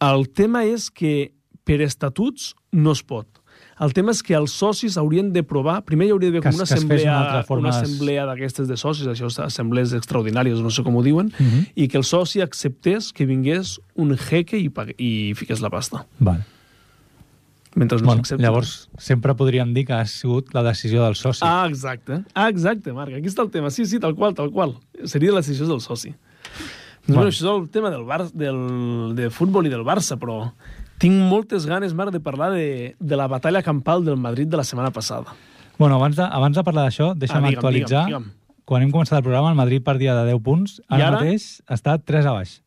A: El tema és que per estatuts no es pot. El tema és que els socis haurien de provar... Primer hi hauria d'haver
B: Que
A: com
B: es-
A: una
B: que es fes una
A: assemblea,
B: altra forma
A: una
B: de-
A: assemblea d'aquestes de socis, això és assemblees extraordinàries, no sé com ho diuen,
B: Mhm.
A: i que el soci acceptés que vingués un jeque i, pag- i fiqués la pasta.
B: Vale.
A: Mentre no
B: Bueno,
A: s'accepti.
B: llavors, sempre podríem dir que ha sigut la decisió del soci.
A: Ah, exacte. Ah, exacte, Marc. Aquí està el tema. Sí, sí, tal qual, tal qual. Seria la decisió del soci. Bueno,
B: Bueno.
A: això és el tema del, Bar del de futbol i del Barça, però tinc moltes ganes, Marc, de parlar de, de la batalla campal del Madrid de la setmana passada.
B: Bueno, abans de, abans de parlar d'això, deixa'm
A: Ah, digue'm,
B: actualitzar.
A: digue'm, digue'm.
B: Quan hem començat el programa, el Madrid perdia de 10 punts. Ara,
A: ara?
B: mateix està 3 a baix.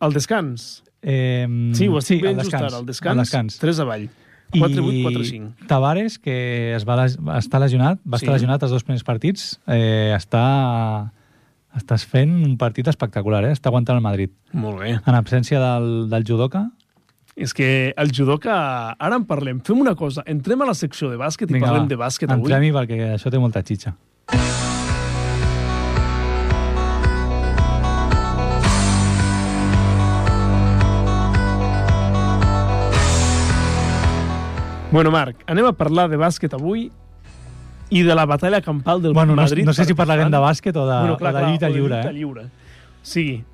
A: El descans.
B: Eh,
A: Sí, ho estic sí,
B: al
A: ben just ara. El descans,
B: al descans.
A: 3 avall. 4-8, 4-5.
B: I Tavares, que es va les... estar lesionat, va
A: Sí.
B: estar lesionat els dos primers partits, eh, està... estàs fent un partit espectacular, eh? està aguantant el Madrid.
A: Molt bé.
B: En absència del, del judoka,
A: És que el judoka... Ara en parlem. Fem una cosa. Entrem a la secció de bàsquet i parlem
B: va,
A: de bàsquet avui.
B: entrem-hi perquè això té molta xitxa.
A: Bueno, Marc, anem a parlar de bàsquet avui i de la batalla campal del
B: Bueno, no,
A: Madrid.
B: no sé si parlarem de bàsquet o de,
A: bueno, clar,
B: o de
A: clar,
B: lluita
A: o de
B: lliure.
A: lluita
B: eh?
A: lliure. O sigui,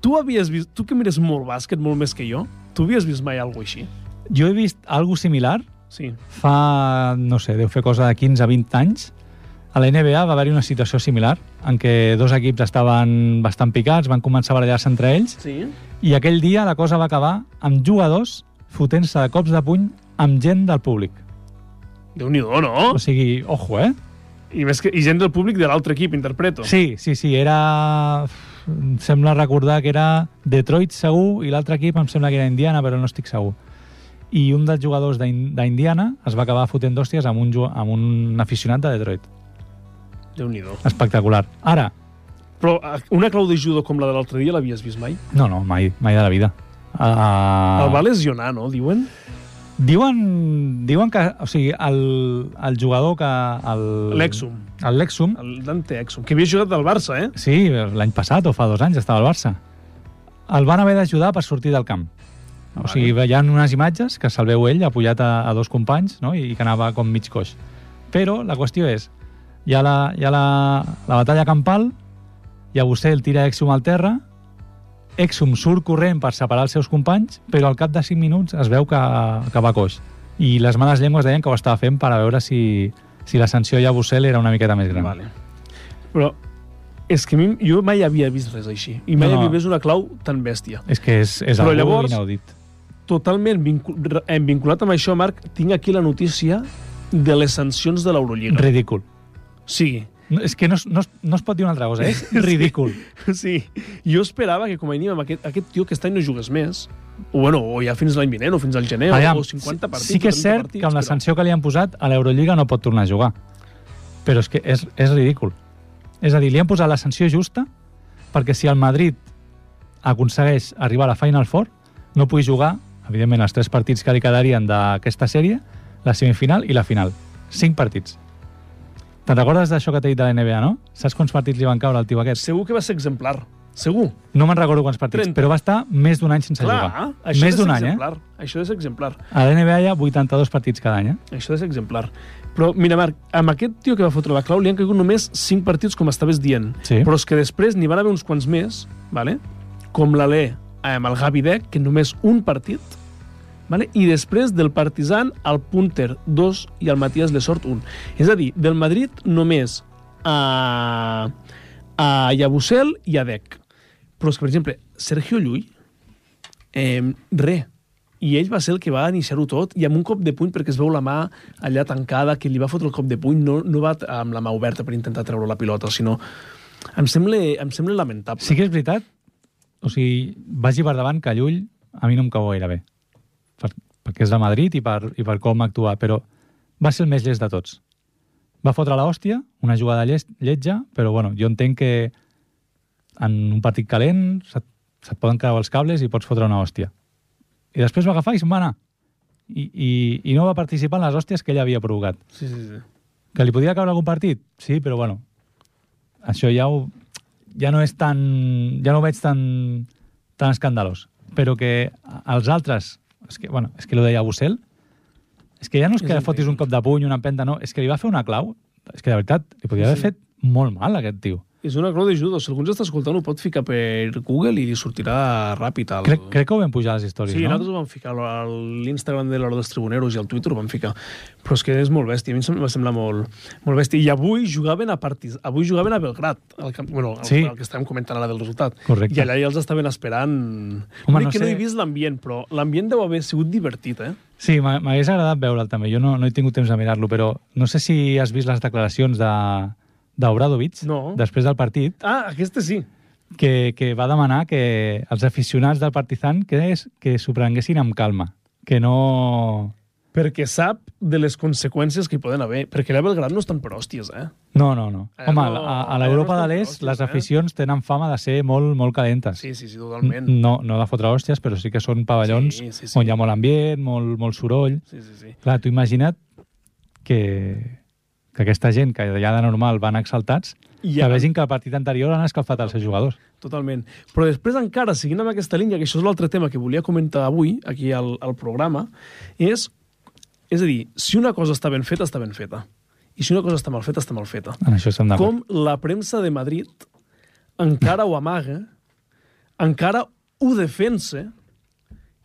A: tu havies vist... Tu que mires molt bàsquet, molt més que jo, tu havies vist mai alguna així?
B: Jo he vist alguna similar
A: Sí.
B: fa, no sé, deu fer cosa de 15-20 anys, a la NBA va haver-hi una situació similar, en què dos equips estaven bastant picats, van començar a barallar-se entre ells,
A: Sí?
B: i aquell dia la cosa va acabar amb jugadors fotent-se de cops de puny amb gent del públic.
A: Déu-n'hi-do, no?
B: O sigui, ojo, eh?
A: I, més que, I gent del públic de l'altre equip, interpreto.
B: Sí, sí, sí, era... Em sembla recordar que era Detroit segur i l'altre equip em sembla que era Indiana, però no estic segur. I un dels jugadors d'In- d'Indiana es va acabar fotent d'hòsties amb un, ju- amb un aficionat de Detroit.
A: Déu-n'hi-do.
B: Espectacular. Ara,
A: Però eh, una clau de judo com la de l'altre dia l'havies vist mai?
B: No, no, mai, mai de la vida. Uh,
A: El va lesionar, no? Diuen?
B: diuen, diuen que, o sigui, el, el jugador que... el-
A: L'Exum.
B: El Lexum,
A: El Dante Exum, que havia jugat del Barça, eh?
B: sí, l'any passat o fa dos anys estava al Barça. El van haver d'ajudar per sortir del camp.
A: Ah,
B: O sigui, hi ha unes imatges que se'l veu ell apujat a, a dos companys no? I, que anava com mig coix. Però la qüestió és, hi ha la, hi ha la, la batalla campal, Llagosel tira Exum al terra, Exum surt corrent per separar els seus companys, però al cap de 5 minuts es veu que, que va coix. I les males llengües deien que ho estava fent per a veure si, si la sanció a Llagosel era una miqueta més gran.
A: Vale. Però és que a mi, jo mai havia vist res així. I mai
B: No,
A: no.
B: no.
A: havia vist una clau tan bèstia.
B: És que és, és
A: Però
B: algo
A: llavors-
B: inaudit.
A: Totalment vincul re- em vinculat amb això, Marc, tinc aquí la notícia de les sancions de l'Eurolliga.
B: Ridícul.
A: O sigui,
B: No, és que no, es- no, es- no es pot dir una altra cosa, és ridícul.
A: sí, jo esperava que com a mínim amb aquest, aquest tio aquest any no jugués més. O, bueno, o ja fins l'any vinent, o fins al gener,
B: Aviam,
A: o 50 partits.
B: sí que és
A: o 30
B: cert
A: partits,
B: que amb la
A: però-
B: sanció que li han posat a l'Eurolliga no pot tornar a jugar. Però és que és, és ridícul. És a dir, li han posat la sanció justa perquè si el Madrid aconsegueix arribar a la Final Four, no pugui jugar, evidentment, els tres partits que li quedarien d'aquesta sèrie, la semifinal i la final. Cinc partits. Te'n recordes d'això que t'he dit de la NBA, no? Saps quants partits li van caure al tio aquest?
A: Segur que va ser exemplar. Segur.
B: No me'n recordo quants partits,
A: 30.
B: però va estar més d'un any sense
A: Clar,
B: jugar.
A: això és
B: més d'un any, eh?
A: exemplar. Això és exemplar.
B: A la NBA hi ha 82 partits cada any, eh?
A: Això és exemplar. Però, mira, Marc, amb aquest tio que va fotre la clau li han caigut només 5 partits, com estaves dient.
B: Sí.
A: Però és que després n'hi van haver uns quants més, vale? com l'Alè eh, amb el Gavi Dec, que només un partit, vale? i després del Partizan al Punter 2 i al Matías Lesort 1. És a dir, del Madrid només a, a Llabusel i a Dec. Però és que, per exemple, Sergio Llull, eh, res. I ell va ser el que va iniciar-ho tot, i amb un cop de puny, perquè es veu la mà allà tancada, que li va fotre el cop de puny, no, no va t- amb la mà oberta per intentar treure la pilota, sinó... Em sembla, em sembla lamentable.
B: Sí que és veritat, o sigui, vagi per davant que Llull a mi no em cau gaire bé, per, perquè és de Madrid i per, i per com actuar, però va ser el més llest de tots. Va fotre la hòstia, una jugada llest, lletja, però bueno, jo entenc que en un partit calent se't, se't poden creuar els cables i pots fotre una hòstia. I després va agafar i se'n va anar. I, i, I no va participar en les hòsties que ell havia provocat.
A: sí, sí. sí.
B: Que li podia caure algun partit? Sí, però bueno, això ja ho, ja no és tan... ja no ho veig tan, tan escandalós. Però que els altres... És que, bueno, és que lo deia Bussel. És que ja no és
A: És
B: que
A: increïble.
B: fotis un cop de puny, una empenta, no. És que li va fer una clau. És que, de veritat, li podia haver
A: Sí.
B: fet molt mal, aquest tio.
A: És una clau de judo. Si algú ens està escoltant, ho pot ficar per Google i li sortirà ràpid. El...
B: Crec, crec que ho vam pujar a les històries,
A: Sí,
B: no?
A: nosaltres ho vam ficar a l'Instagram de l'Hora dels Tribuneros i al Twitter ho vam ficar. Però és que és molt bèstia, a mi em sem- va semblar molt, molt bèstia. I avui jugaven a partits, avui jugaven a Belgrat, el, camp- bueno, el,
B: Sí.
A: el que estàvem comentant ara del resultat.
B: Correcte.
A: I allà ja els estaven esperant.
B: Home,
A: Home,
B: no
A: no que no
B: sé.
A: he vist l'ambient, però l'ambient deu haver sigut divertit, eh?
B: Sí, m'ha- m'hagués agradat veure'l també. Jo no, no he tingut temps de mirar-lo, però no sé si has vist les declaracions de d'Obradovic
A: No.
B: després del partit,
A: Ah, aquesta sí.
B: que, que va demanar que els aficionats del Partizan que, és, que s'ho prenguessin amb calma, que no...
A: Perquè sap de les conseqüències que hi poden haver. Perquè allà a Belgrat no estan per hòsties, eh?
B: No, no, no.
A: Eh,
B: Home,
A: no,
B: a, a
A: eh,
B: l'Europa
A: no estan
B: de l'Est
A: hòsties,
B: les
A: eh?
B: aficions tenen fama de ser molt, molt calentes.
A: Sí, sí, sí, totalment.
B: no, no de fotre hòsties, però sí que són pavellons
A: Sí, sí, sí.
B: on hi ha molt ambient, molt, molt soroll.
A: Sí, sí, sí.
B: Clar, tu imagina't que, que aquesta gent que ja de normal van exaltats,
A: I
B: que
A: ara-
B: vegin que el partit anterior han escalfat els seus jugadors.
A: Totalment. Però després encara, seguint amb aquesta línia, que això és l'altre tema que volia comentar avui, aquí al, al programa, és, és a dir, si una cosa està ben feta, està ben feta. I si una cosa està mal feta, està mal feta.
B: En això estem d'acord.
A: Com la premsa de Madrid encara ho amaga, encara ho defensa,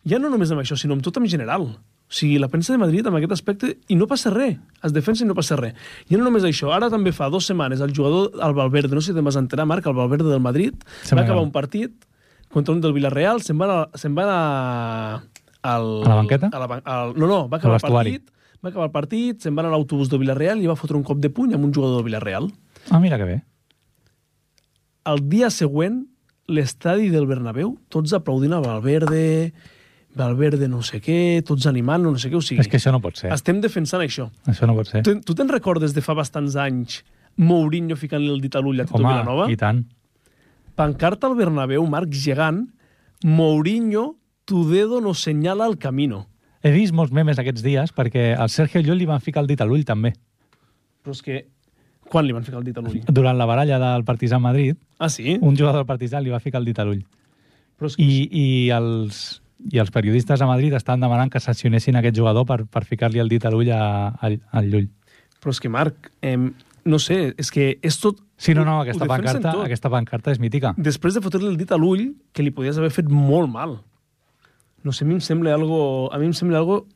A: ja no només amb això, sinó amb tot en general. O sigui, la premsa de Madrid amb aquest aspecte, i no passa res, es defensa i no passa res. Ja no només això, ara també fa dues setmanes el jugador, el Valverde, no sé si te'n vas enterar, Marc, el Valverde del Madrid,
B: Se
A: se
B: me
A: va acabar
B: acaba.
A: un partit contra un del Villarreal, se'n va, a- se'n va a, al,
B: A la banqueta?
A: A la, ban- al, no, no, va acabar el
B: vestuari.
A: partit, va acabar el partit, se'n va anar a l'autobús del Villarreal i va fotre un cop de puny amb un jugador del Villarreal
B: Ah, mira que bé.
A: el dia següent, l'estadi del Bernabéu, tots aplaudint a Valverde, Valverde no sé què, tots animant no sé què, o sigui,
B: És que això no pot ser.
A: estem defensant això.
B: Això no pot ser.
A: Tu, tu te'n recordes de fa bastants anys Mourinho ficant-li el dit a l'ull a Tito
B: Home,
A: Vilanova?
B: i tant.
A: Pancarta al Bernabéu, Marc Gegant, Mourinho, tu dedo no senyala el camino.
B: He vist molts memes aquests dies perquè al Sergio Llull li van ficar el dit a l'ull també.
A: Però és que... Quan li van ficar el dit a l'ull?
B: Durant la baralla del Partizan Madrid,
A: Ah, sí?
B: un jugador del Partizan li va ficar el dit a l'ull.
A: Però és que...
B: I, i, els, I els periodistes a Madrid estan demanant que sancionessin aquest jugador per, per ficar-li el dit a l'ull a- al al Llull.
A: Però és que, Marc, eh, no sé, és que és tot...
B: Sí, no, no,
A: ho
B: aquesta
A: defensen
B: pancarta,
A: tot.
B: aquesta pancarta és mítica.
A: després de fotre-li el dit a l'ull, que li podies haver fet molt mal. No sé, a mi em sembla algo... A mi em sembla algo...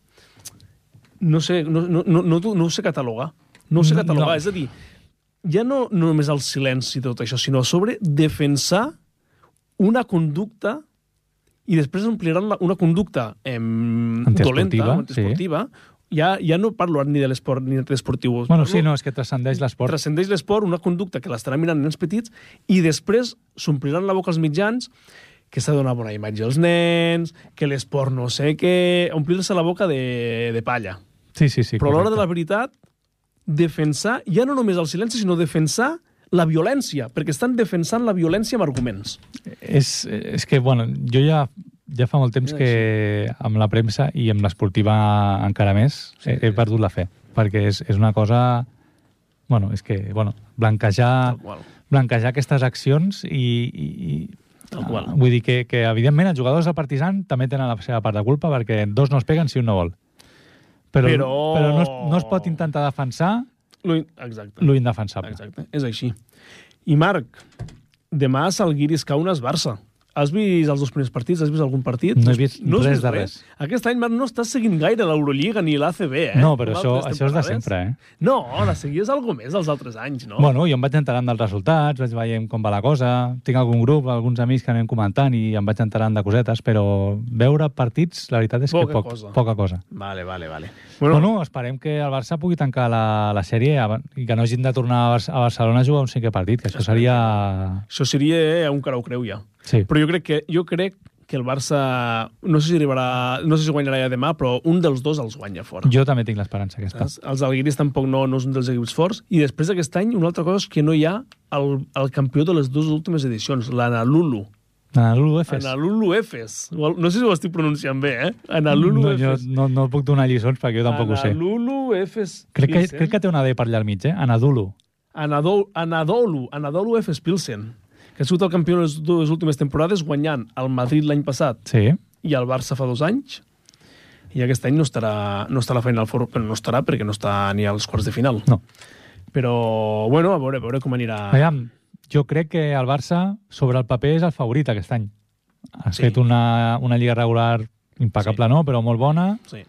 A: No sé, no, no, no, no, t'ho- no ho sé catalogar. No ho sé
B: No,
A: catalogar.
B: no.
A: No. És a dir, ja no, no només el silenci i tot això, sinó a sobre defensar una conducta i després ampliaran la, una conducta em,
B: Antiesportiva,
A: dolenta,
B: sí.
A: antiesportiva. Ja, ja no parlo ara ni de l'esport ni d'esportiu.
B: Bueno, sí, no, és que transcendeix l'esport.
A: Transcendeix l'esport, una conducta que l'estarà mirant nens petits i després s'ompliran la boca als mitjans que s'ha de donar bona imatge als nens, que l'esport no sé què... Omplir-se la boca de, de palla.
B: Sí, sí, sí.
A: Però a l'hora de la
B: correcte.
A: veritat, defensar, ja no només el silenci, sinó defensar la violència, perquè estan defensant la violència amb arguments.
B: És, és que, bueno, jo ja, ja fa molt temps
A: Ja,
B: que amb la premsa i amb l'esportiva encara més he, he perdut la fe, perquè és, és una cosa Bueno, és que, bueno, blanquejar,
A: Tal qual.
B: blanquejar aquestes accions i... i, i
A: Tal qual.
B: Ah, Vull dir que, que, evidentment, els jugadors del Partizan també tenen la seva part de culpa perquè dos no es peguen si un no vol. Però, però...
A: Però-
B: però no, es, no es pot intentar defensar
A: Lo in- Exacte.
B: lo indefensable.
A: Exacte, és així. I Marc, demà a Salguiris Kaunas Barça. Has vist els dos primers partits? Has vist algun partit?
B: No he vist
A: has
B: res de res.
A: Aquest any, Marc, no estàs seguint gaire l'Eurolliga ni l'ACB, eh?
B: No, però
A: Com
B: això,
A: altres
B: això és de
A: temporades.
B: sempre, eh?
A: No, la seguies alguna més dels altres anys, no?
B: Bueno, jo em vaig enterant dels resultats, vaig veient com va la cosa, tinc algun grup, alguns amics que anem comentant i em vaig enterant de cosetes, però veure partits, la veritat és
A: Poca
B: que poc,
A: cosa.
B: poca cosa.
A: Vale, vale, vale.
B: Bueno, bueno, esperem que el Barça pugui tancar la, la sèrie aba- i que no hagin de tornar a, Bar a Barcelona a jugar un cinquè partit, que això seria...
A: Això seria eh, un carau creu ja.
B: Sí,
A: Però jo crec que jo crec que el Barça, no sé si arribarà, no sé si guanyarà ja demà, però un dels dos els guanya fora.
B: jo també tinc l'esperança aquesta.
A: Saps? Els alguiris tampoc no, no és un dels equips forts. I després aquest any, una altra cosa és que no hi ha el, el campió de les dues últimes edicions, l'Analulu.
B: Analulu Efes.
A: Analulu Efes. O el- No sé si ho estic pronunciant bé, eh? Analulu
B: No, jo
A: Efes.
B: no, no puc donar lliçons perquè jo tampoc ho sé.
A: Analulu Efes.
B: Crec que,
A: Pilsen.
B: crec que té una D per allà al mig, eh? Anadulu.
A: Anadolu, Anadolu, Anadolu Efes Pilsen, que ha sigut el campió de les dues últimes temporades guanyant el Madrid l'any passat
B: Sí.
A: i el Barça fa dos anys. I aquest any no estarà, no estarà a la Final Four, però no estarà perquè no està ni als quarts de final.
B: No.
A: Però, bueno, a veure, a veure com anirà.
B: Aviam, jo crec que el Barça, sobre el paper, és el favorit aquest any. Has
A: Sí.
B: fet una, una lliga regular impecable, no, però molt bona.
A: Sí.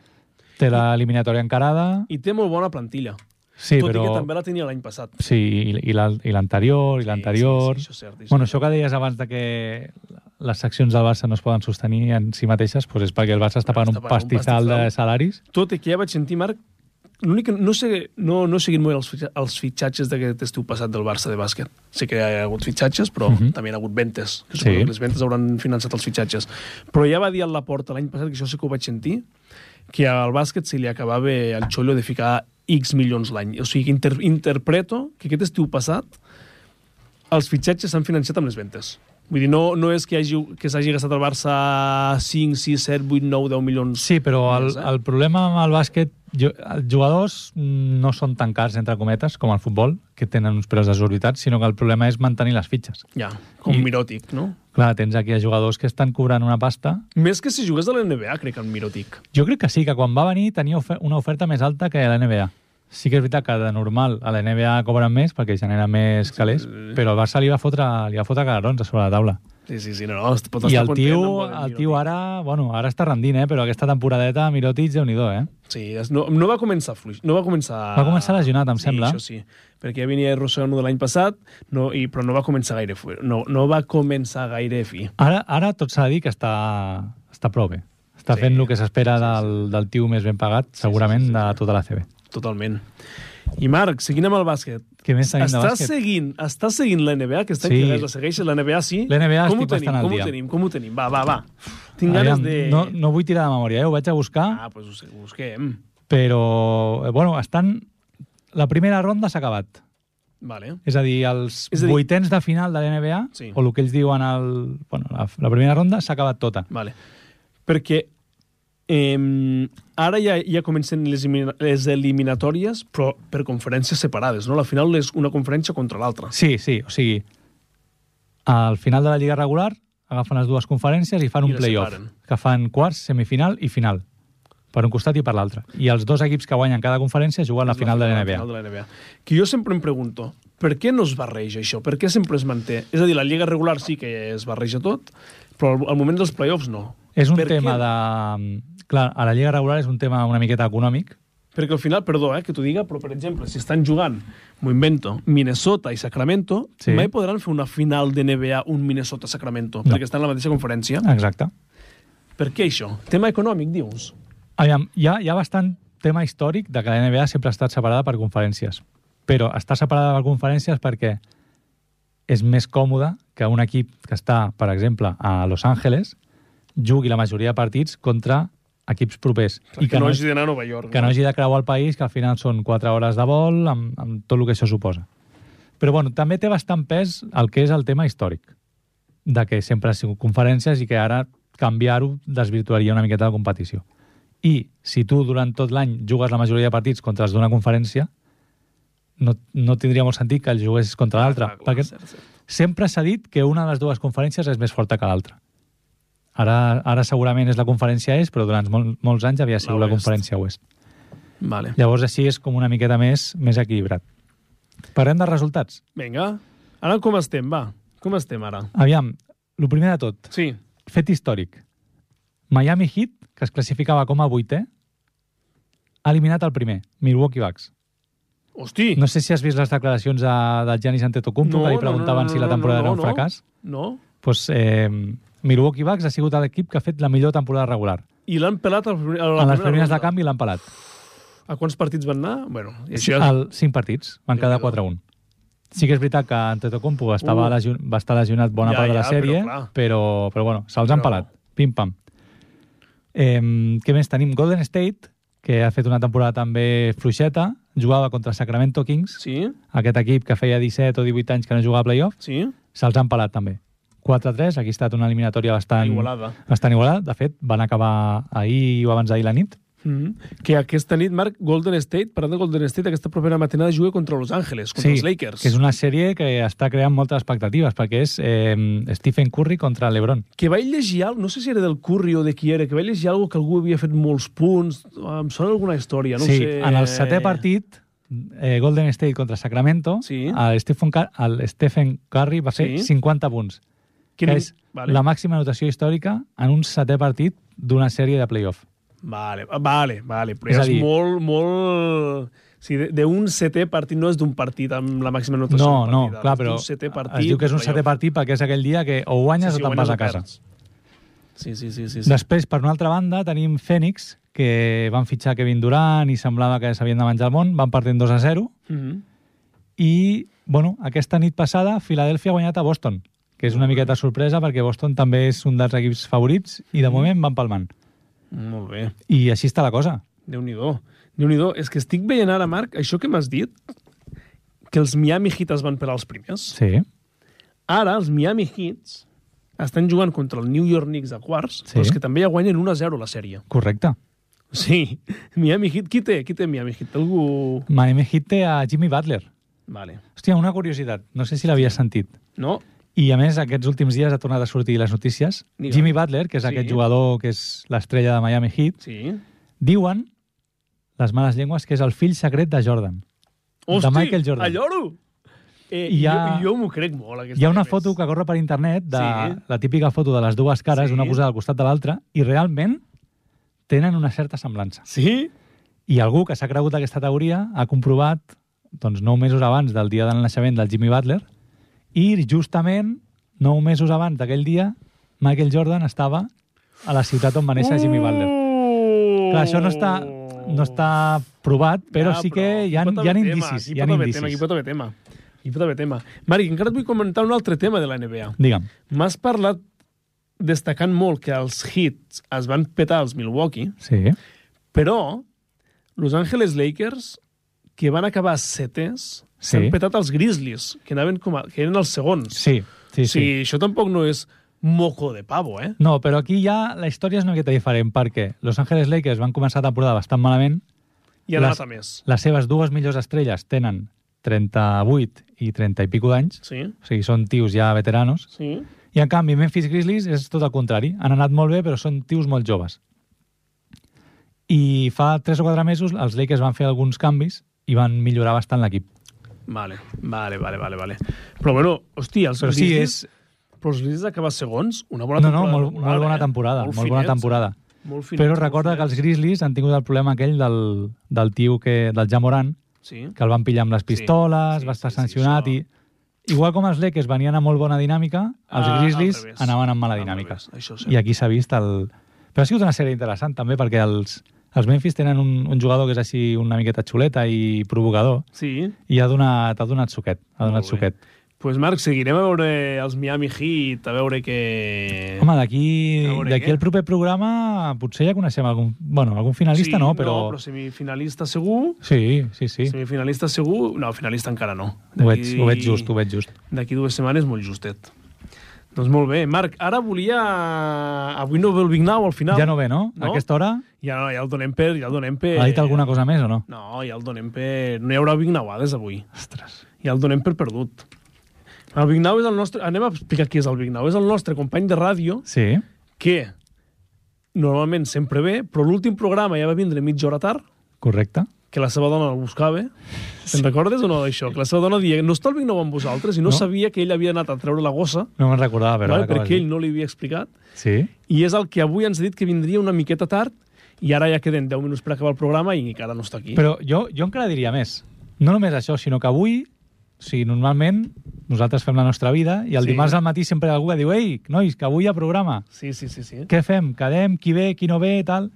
B: Té l'eliminatòria encarada.
A: I té molt bona plantilla.
B: Sí,
A: tot
B: però...
A: i que també la tenia l'any passat.
B: Sí, i- i l'al- i l'anterior, i l'anterior...
A: Sí, sí, sí, això és cert. Això.
B: Bueno, això que deies abans de que les seccions del Barça no es poden sostenir en si mateixes, doncs és perquè el Barça està pagant
A: Està
B: un
A: pagant un
B: pastissal de
A: pastizal.
B: salaris.
A: Tot i que ja vaig sentir, Marc, l'únic que no sé, no, no he seguit molt els, fitxa- els fitxatges d'aquest estiu passat del Barça de bàsquet. Sé que hi ha hagut fitxatges, però
B: Mhm.
A: també hi ha hagut ventes. Que
B: Sí.
A: sí. que les ventes hauran finançat els fitxatges. Però ja va dir a la porta l'any passat, que això sí que ho vaig sentir, que al bàsquet se li acabava el xollo de ficar X milions l'any. O sigui, que inter interpreto que aquest estiu passat els fitxatges s'han finançat amb les ventes. Vull dir, no, no és que hagi- que s'hagi gastat el Barça 5, 6, 7, 8, 9, 10 milions
B: Sí, però el,
A: Més, eh?
B: el problema amb el bàsquet, jo, els jugadors no són tan cars, entre cometes, com el futbol, que tenen uns preus desorbitats, sinó que el problema és mantenir les fitxes.
A: Ja, com
B: I-
A: I... Mirotic, no?
B: Clar, tens aquí a jugadors que estan cobrant una pasta.
A: Més que si jugués a la NBA, crec, el Mirotic.
B: Jo crec que sí, que quan va venir tenia ofe una oferta més alta que a la NBA. Sí que és veritat que de normal a la NBA cobren més perquè genera més calés, però el Barça li va fotre, li va fotre cagarons a sobre la taula.
A: Sí, sí, sí, no, no, es- pot
B: I
A: estar
B: el
A: content.
B: tio,
A: amb Bojan
B: el
A: Mirotic.
B: tio ara, bueno, ara està rendint, eh? però aquesta temporadeta Mirotic, déu nhi eh?
A: Sí, es, no, no va començar fluix, no va començar...
B: Va començar lesionat, em
A: sí,
B: sembla.
A: això sí, perquè ja venia arrossegant-ho de l'any passat, no, i, però no va començar gaire fi. No, no va començar gaire fi.
B: Ara, ara tot s'ha de dir que està, està prou bé. Està
A: Sí,
B: sí, fent el que s'espera sí, sí. del, del tio més ben pagat, segurament, sí, sí, sí, de tota la CB.
A: Totalment. I Marc, seguint amb el bàsquet.
B: Què més tenim de
A: Estàs
B: bàsquet?
A: seguint, estàs seguint la NBA, que està
B: Sí.
A: sí. la segueixes, la NBA sí?
B: La NBA
A: com ho
B: estic
A: tenim,
B: bastant al
A: com
B: dia.
A: Ho tenim, com ho tenim? Va, va, va. Tinc ganes de...
B: no, no vull tirar de memòria, eh? ho vaig a buscar,
A: Ah, doncs pues ho, sé, ho busquem.
B: però eh, bueno, estan... La primera ronda s'ha acabat.
A: Vale.
B: És a dir, els
A: És a dir-
B: vuitens de final de la NBA,
A: Sí.
B: o el que ells diuen el, bueno, la, la primera ronda, s'ha acabat tota.
A: Vale. Perquè eh, ara ja, ja comencen les, elimina- les eliminatòries, però per conferències separades, no? Al final és una conferència contra l'altra.
B: Sí, sí, o sigui, al final de la Lliga regular agafen les dues conferències i fan
A: I
B: un
A: les
B: play-off,
A: separen.
B: que fan quarts, semifinal i final, per un costat i per l'altre. I els dos equips que guanyen cada conferència juguen la
A: És
B: final de la
A: Final
B: NBA.
A: de la NBA. Que jo sempre em pregunto, per què no es barreja això? Per què sempre es manté? És a dir, la Lliga regular sí que es barreja tot, però al- al moment dels play-offs no.
B: És un
A: Per què?
B: tema de... Clar, a la Lliga regular és un tema una miqueta econòmic,
A: Perquè al final, perdó, eh, que t'ho diga, però per exemple, si estan jugant, m'ho invento, Minnesota i Sacramento, sí.
B: Sí.
A: mai podran fer una final de NBA un Minnesota-Sacramento,
B: No.
A: no. perquè estan a la mateixa conferència.
B: exacte.
A: Per què això? Tema econòmic, dius?
B: Aviam, hi ha, hi ha bastant tema històric de que la NBA sempre ha estat separada per conferències. Però està separada per conferències perquè és més còmode que un equip que està, per exemple, a Los Angeles jugui la majoria de partits contra equips propers.
A: I que no hagi
B: hagi,
A: d'anar a Nova York.
B: que no hagi de creuar el país, que al final són 4 hores de vol, amb, amb tot el que això suposa. Però bueno, també té bastant pes el que és el tema històric, de que sempre ha sigut conferències i que ara canviar-ho desvirtuaria una miqueta la competició. I si tu durant tot l'any jugues la majoria de partits contra els d'una conferència, no, no tindria molt sentit que el jugués contra l'altre.
A: Ah, clar,
B: Perquè
A: cert, cert.
B: sempre s'ha dit que una de les dues conferències és més forta que l'altra. Ara, ara segurament és la conferència est, però durant mol, molts anys havia sigut la,
A: oest.
B: conferència oest.
A: Vale.
B: Llavors així és com una miqueta més més equilibrat. Parlem de resultats.
A: Vinga. Ara com estem, va? Com estem ara?
B: Aviam, el primer de tot,
A: Sí.
B: fet històric. Miami Heat, que es classificava com a vuitè, ha eliminat el primer, Milwaukee Bucks.
A: Hosti!
B: No sé si has vist les declaracions de, de Giannis Antetokounmpo, que li preguntaven si la temporada era un fracàs.
A: No.
B: Pues, eh, Milwaukee Bucks ha sigut l'equip que ha fet la millor temporada regular.
A: I l'han pelat al primer- a la
B: en les primeres de
A: ronda.
B: canvi l'han pelat.
A: A quants partits van anar? Bueno, i això ja...
B: El 5 partits, van quedar 4-1. Sí que és veritat que Antetokounmpo estava
A: Uh.
B: uh. lesion, va estar lesionat bona
A: Ja,
B: part de la
A: ja, però
B: sèrie,
A: clar.
B: però, però, però bueno, se'ls han
A: Però-
B: pelat. Pim-pam. Eh, què més tenim? Golden State, que ha fet una temporada també fluixeta, jugava contra Sacramento Kings,
A: Sí,
B: aquest equip que feia 17 o 18 anys que no jugava a playoff,
A: sí.
B: se'ls han pelat també. 4-3, aquí ha estat una eliminatòria bastant
A: Igualada.
B: bastant igualada. De fet, van acabar ahir o abans d'ahir la nit.
A: Mm -hmm. Que aquesta nit, Marc, Golden State, parlant de Golden State, aquesta propera matinada juga contra Los Angeles, contra els Lakers.
B: que és una sèrie que està creant moltes expectatives, perquè és eh, Stephen Curry contra LeBron.
A: que vaig llegir, al- no sé si era del Curry o de qui era, que vaig llegir algo que algú havia fet molts punts, em sona alguna història, no ho
B: sí,
A: sé.
B: en el setè partit, eh, Golden State contra Sacramento,
A: Sí.
B: el, Stephen Car el Stephen Curry va fer
A: Sí.
B: 50 punts,
A: Que
B: que,
A: no-
B: és la màxima anotació històrica en un setè partit d'una sèrie de playoff.
A: Vale, vale, vale. Però
B: És
A: és,
B: a
A: és
B: dir-
A: molt, molt... Sí, de- d'un setè partit no és d'un partit amb la màxima anotació.
B: No,
A: d'un
B: no,
A: partit,
B: clar,
A: és
B: però
A: d'un setè partit,
B: es diu que és un setè
A: playoff.
B: partit perquè és aquell dia que o guanyes
A: Sí, sí,
B: o te'n
A: guanyes
B: vas
A: o
B: a casa.
A: perds. Sí, sí, sí. sí, sí.
B: Després, per una altra banda, tenim Phoenix, que van fitxar Kevin Durant i semblava que s'havien de menjar el món, van partint 2 a 0,
A: Mhm.
B: i, bueno, aquesta nit passada, Filadèlfia ha guanyat a Boston, que és una miqueta sorpresa perquè Boston també és un dels equips favorits i de moment van palmant.
A: Molt bé.
B: I així està la cosa.
A: Déu-n'hi-do. déu nhi déu És que estic veient ara, Marc, això que m'has dit, que els Miami Heat es van per als primers.
B: Sí,
A: Ara els Miami Heats estan jugant contra el New York Knicks a quarts,
B: Sí.
A: sí. però és que també ja guanyen 1 a 0 la sèrie.
B: correcte.
A: Sí, Miami Heat, qui té? Qui té Miami Heat? Algú...
B: Miami Heat té a Jimmy Butler.
A: Vale.
B: Hòstia, una curiositat, no sé si l'havia sentit.
A: No?
B: I a més, aquests últims dies ha tornat a sortir les notícies.
A: Digue'm.
B: Jimmy Butler, que és
A: Sí.
B: aquest jugador que és l'estrella de Miami Heat,
A: Sí.
B: diuen les males llengües que és el fill secret de Jordan.
A: Hosti,
B: Michael Jordan.
A: Alloro! Eh,
B: Hi
A: hi
B: ha-
A: ha... Jo, jo m'ho crec molt, aquesta.
B: Hi ha una
A: més.
B: foto que corre per internet, de,
A: Sí.
B: sí. la típica foto de les dues cares,
A: Sí.
B: sí. una posada al costat de l'altra, i realment tenen una certa semblança.
A: Sí?
B: I algú que s'ha cregut aquesta teoria ha comprovat, doncs, nou mesos abans del dia del naixement del Jimmy Butler, i justament nou mesos abans d'aquell dia, Michael Jordan estava a la ciutat on va néixer Jimmy Butler.
A: Oh!
B: Clar, això no està, no està provat, però ja, sí que
A: Ah, però
B: hi ha,
A: aquí pot
B: hi ha
A: haver tema,
B: indicis.
A: Aquí
B: Hi ha
A: pot haver
B: indicis.
A: tema, aquí pot haver tema. Aquí pot haver tema. Mari, encara et vull comentar un altre tema de la NBA.
B: Digue'm.
A: M'has parlat destacant molt que els hits es van petar als Milwaukee,
B: Sí.
A: però Los Angeles Lakers, que van acabar setès,
B: Sí.
A: s'han petat els Grizzlies, que, anaven com a, que eren els segons.
B: Sí, sí,
A: O
B: sí.
A: sigui, això tampoc no és moco de pavo, eh?
B: No, però aquí ja la història és una miqueta diferent, perquè Los Angeles Lakers van començar la temporada bastant malament,
A: I han
B: Les-
A: anat a més.
B: les seves dues millors estrelles tenen 38 i 30 i pico d'anys,
A: Sí,
B: o sigui, són tios ja veteranos,
A: sí.
B: i en canvi Memphis Grizzlies és tot el contrari, han anat molt bé però són tios molt joves. I fa 3 o 4 mesos els Lakers van fer alguns canvis i van millorar bastant l'equip.
A: Vale, vale, vale, vale, vale. Però bueno, hòstia, els
B: Però sí,
A: Grizzlies...
B: és...
A: Però els Grizzlies acabar segons, una bona
B: No, no,
A: temporada.
B: molt,
A: regular,
B: molt bona
A: eh?
B: temporada, molt bona
A: finets,
B: temporada.
A: Molt finets,
B: Però
A: molt
B: recorda que els
A: finets.
B: Grizzlies han tingut el problema aquell del, del tio que, del Jamoran,
A: Sí.
B: que el van pillar amb les pistoles, sí, sí, va estar
A: sí, sí,
B: sí, sancionat
A: això.
B: i... Igual com els Lakers venien amb molt bona dinàmica, els
A: Ah,
B: Grizzlies
A: al revés.
B: anaven amb mala
A: Al
B: dinàmica.
A: revés, això és cert.
B: I aquí s'ha vist el... Però ha sigut una sèrie interessant també perquè els, els Memphis tenen un, un jugador que és així una miqueta xuleta i provocador
A: Sí.
B: i ha donat, ha donat suquet. Ha donat
A: Molt bé.
B: suquet.
A: Pues Marc, seguirem a veure els Miami Heat, a veure què...
B: Home, d'aquí
A: Eh. A veure
B: d'aquí
A: què.
B: el proper programa potser ja coneixem algun... Bueno, algun finalista no, però...
A: No, però semifinalista segur.
B: Sí, sí, sí. sí.
A: Semifinalista segur. No, finalista encara no.
B: Ho, veig, ho veig just, ho veig just.
A: D'aquí dues setmanes molt justet. Doncs molt bé. Marc, ara volia... Avui no ve el Vignau al final.
B: Ja no ve, no?
A: No. Eh,
B: A aquesta hora?
A: Ja, no, ja el donem per... Ja el donem per...
B: Ha dit alguna cosa més o no?
A: No, ja el donem per... No hi haurà Vignauades avui.
B: Ostres.
A: Ja el donem per perdut. El Vignau és el nostre... Anem a explicar qui és el Vignau. És el nostre company de ràdio
B: Sí.
A: que normalment sempre ve, però l'últim programa ja va vindre mitja hora tard,
B: Correcte.
A: que la seva dona el buscava. Te'n recordes o no d'això? Que la seva dona deia no està el Vignau amb vosaltres i no,
B: No.
A: no. sabia que ell havia anat a treure la gossa,
B: No me'n recordava, però...
A: vale,
B: ara que ho has
A: perquè ell
B: dit.
A: no li havia explicat.
B: Sí.
A: i és el que avui ens ha dit que vindria una miqueta tard i ara ja queden 10 minuts per acabar el programa i encara no està aquí.
B: Però jo, jo encara diria més. No només això, sinó que avui, si normalment nosaltres fem la nostra vida i el
A: Sí.
B: sí. dimarts al matí sempre hi ha algú que diu «Ei, nois, que avui hi ha programa.
A: Sí, sí, sí, sí.
B: Què fem? Quedem? Qui ve? Qui no ve? Tal».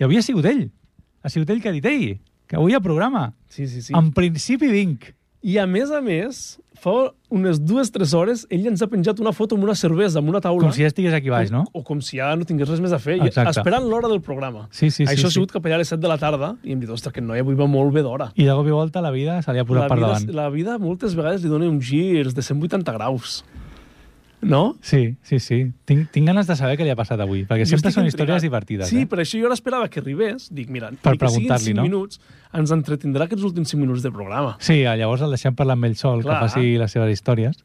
B: I avui ha sigut ell. Ha sigut ell que ha dit «Ei, que avui hi ha programa.
A: sí, sí, sí.
B: Sí. En principi vinc».
A: I a més a més, fa unes dues, tres hores, ell ens ha penjat una foto amb una cervesa, amb una taula.
B: Com si ja estigués aquí baix, no?
A: O com si ja no tingués res més a fer, i-
B: Exacte.
A: esperant l'hora del programa.
B: Sí, sí, sí,
A: Això ha
B: sí.
A: sigut cap allà a les 7 de la tarda, i hem dit, ostres, aquest noi avui va molt bé d'hora.
B: I de cop i volta la vida se li ha posat per
A: vida,
B: davant.
A: la vida moltes vegades li dona uns girs de 180 graus. No?
B: Sí, sí, sí. Tinc, tinc ganes de saber què li ha passat avui, perquè
A: Jo
B: sempre
A: estic
B: són
A: intrigat.
B: històries divertides.
A: Sí,
B: eh?
A: per això jo ara esperava que arribés, dic, mira,
B: Per
A: ni que siguin
B: preguntar-li,
A: 5
B: no?
A: minuts, ens entretindrà aquests últims 5 minuts de programa.
B: sí, llavors el deixem parlar amb ell sol,
A: Clar.
B: que faci les seves històries.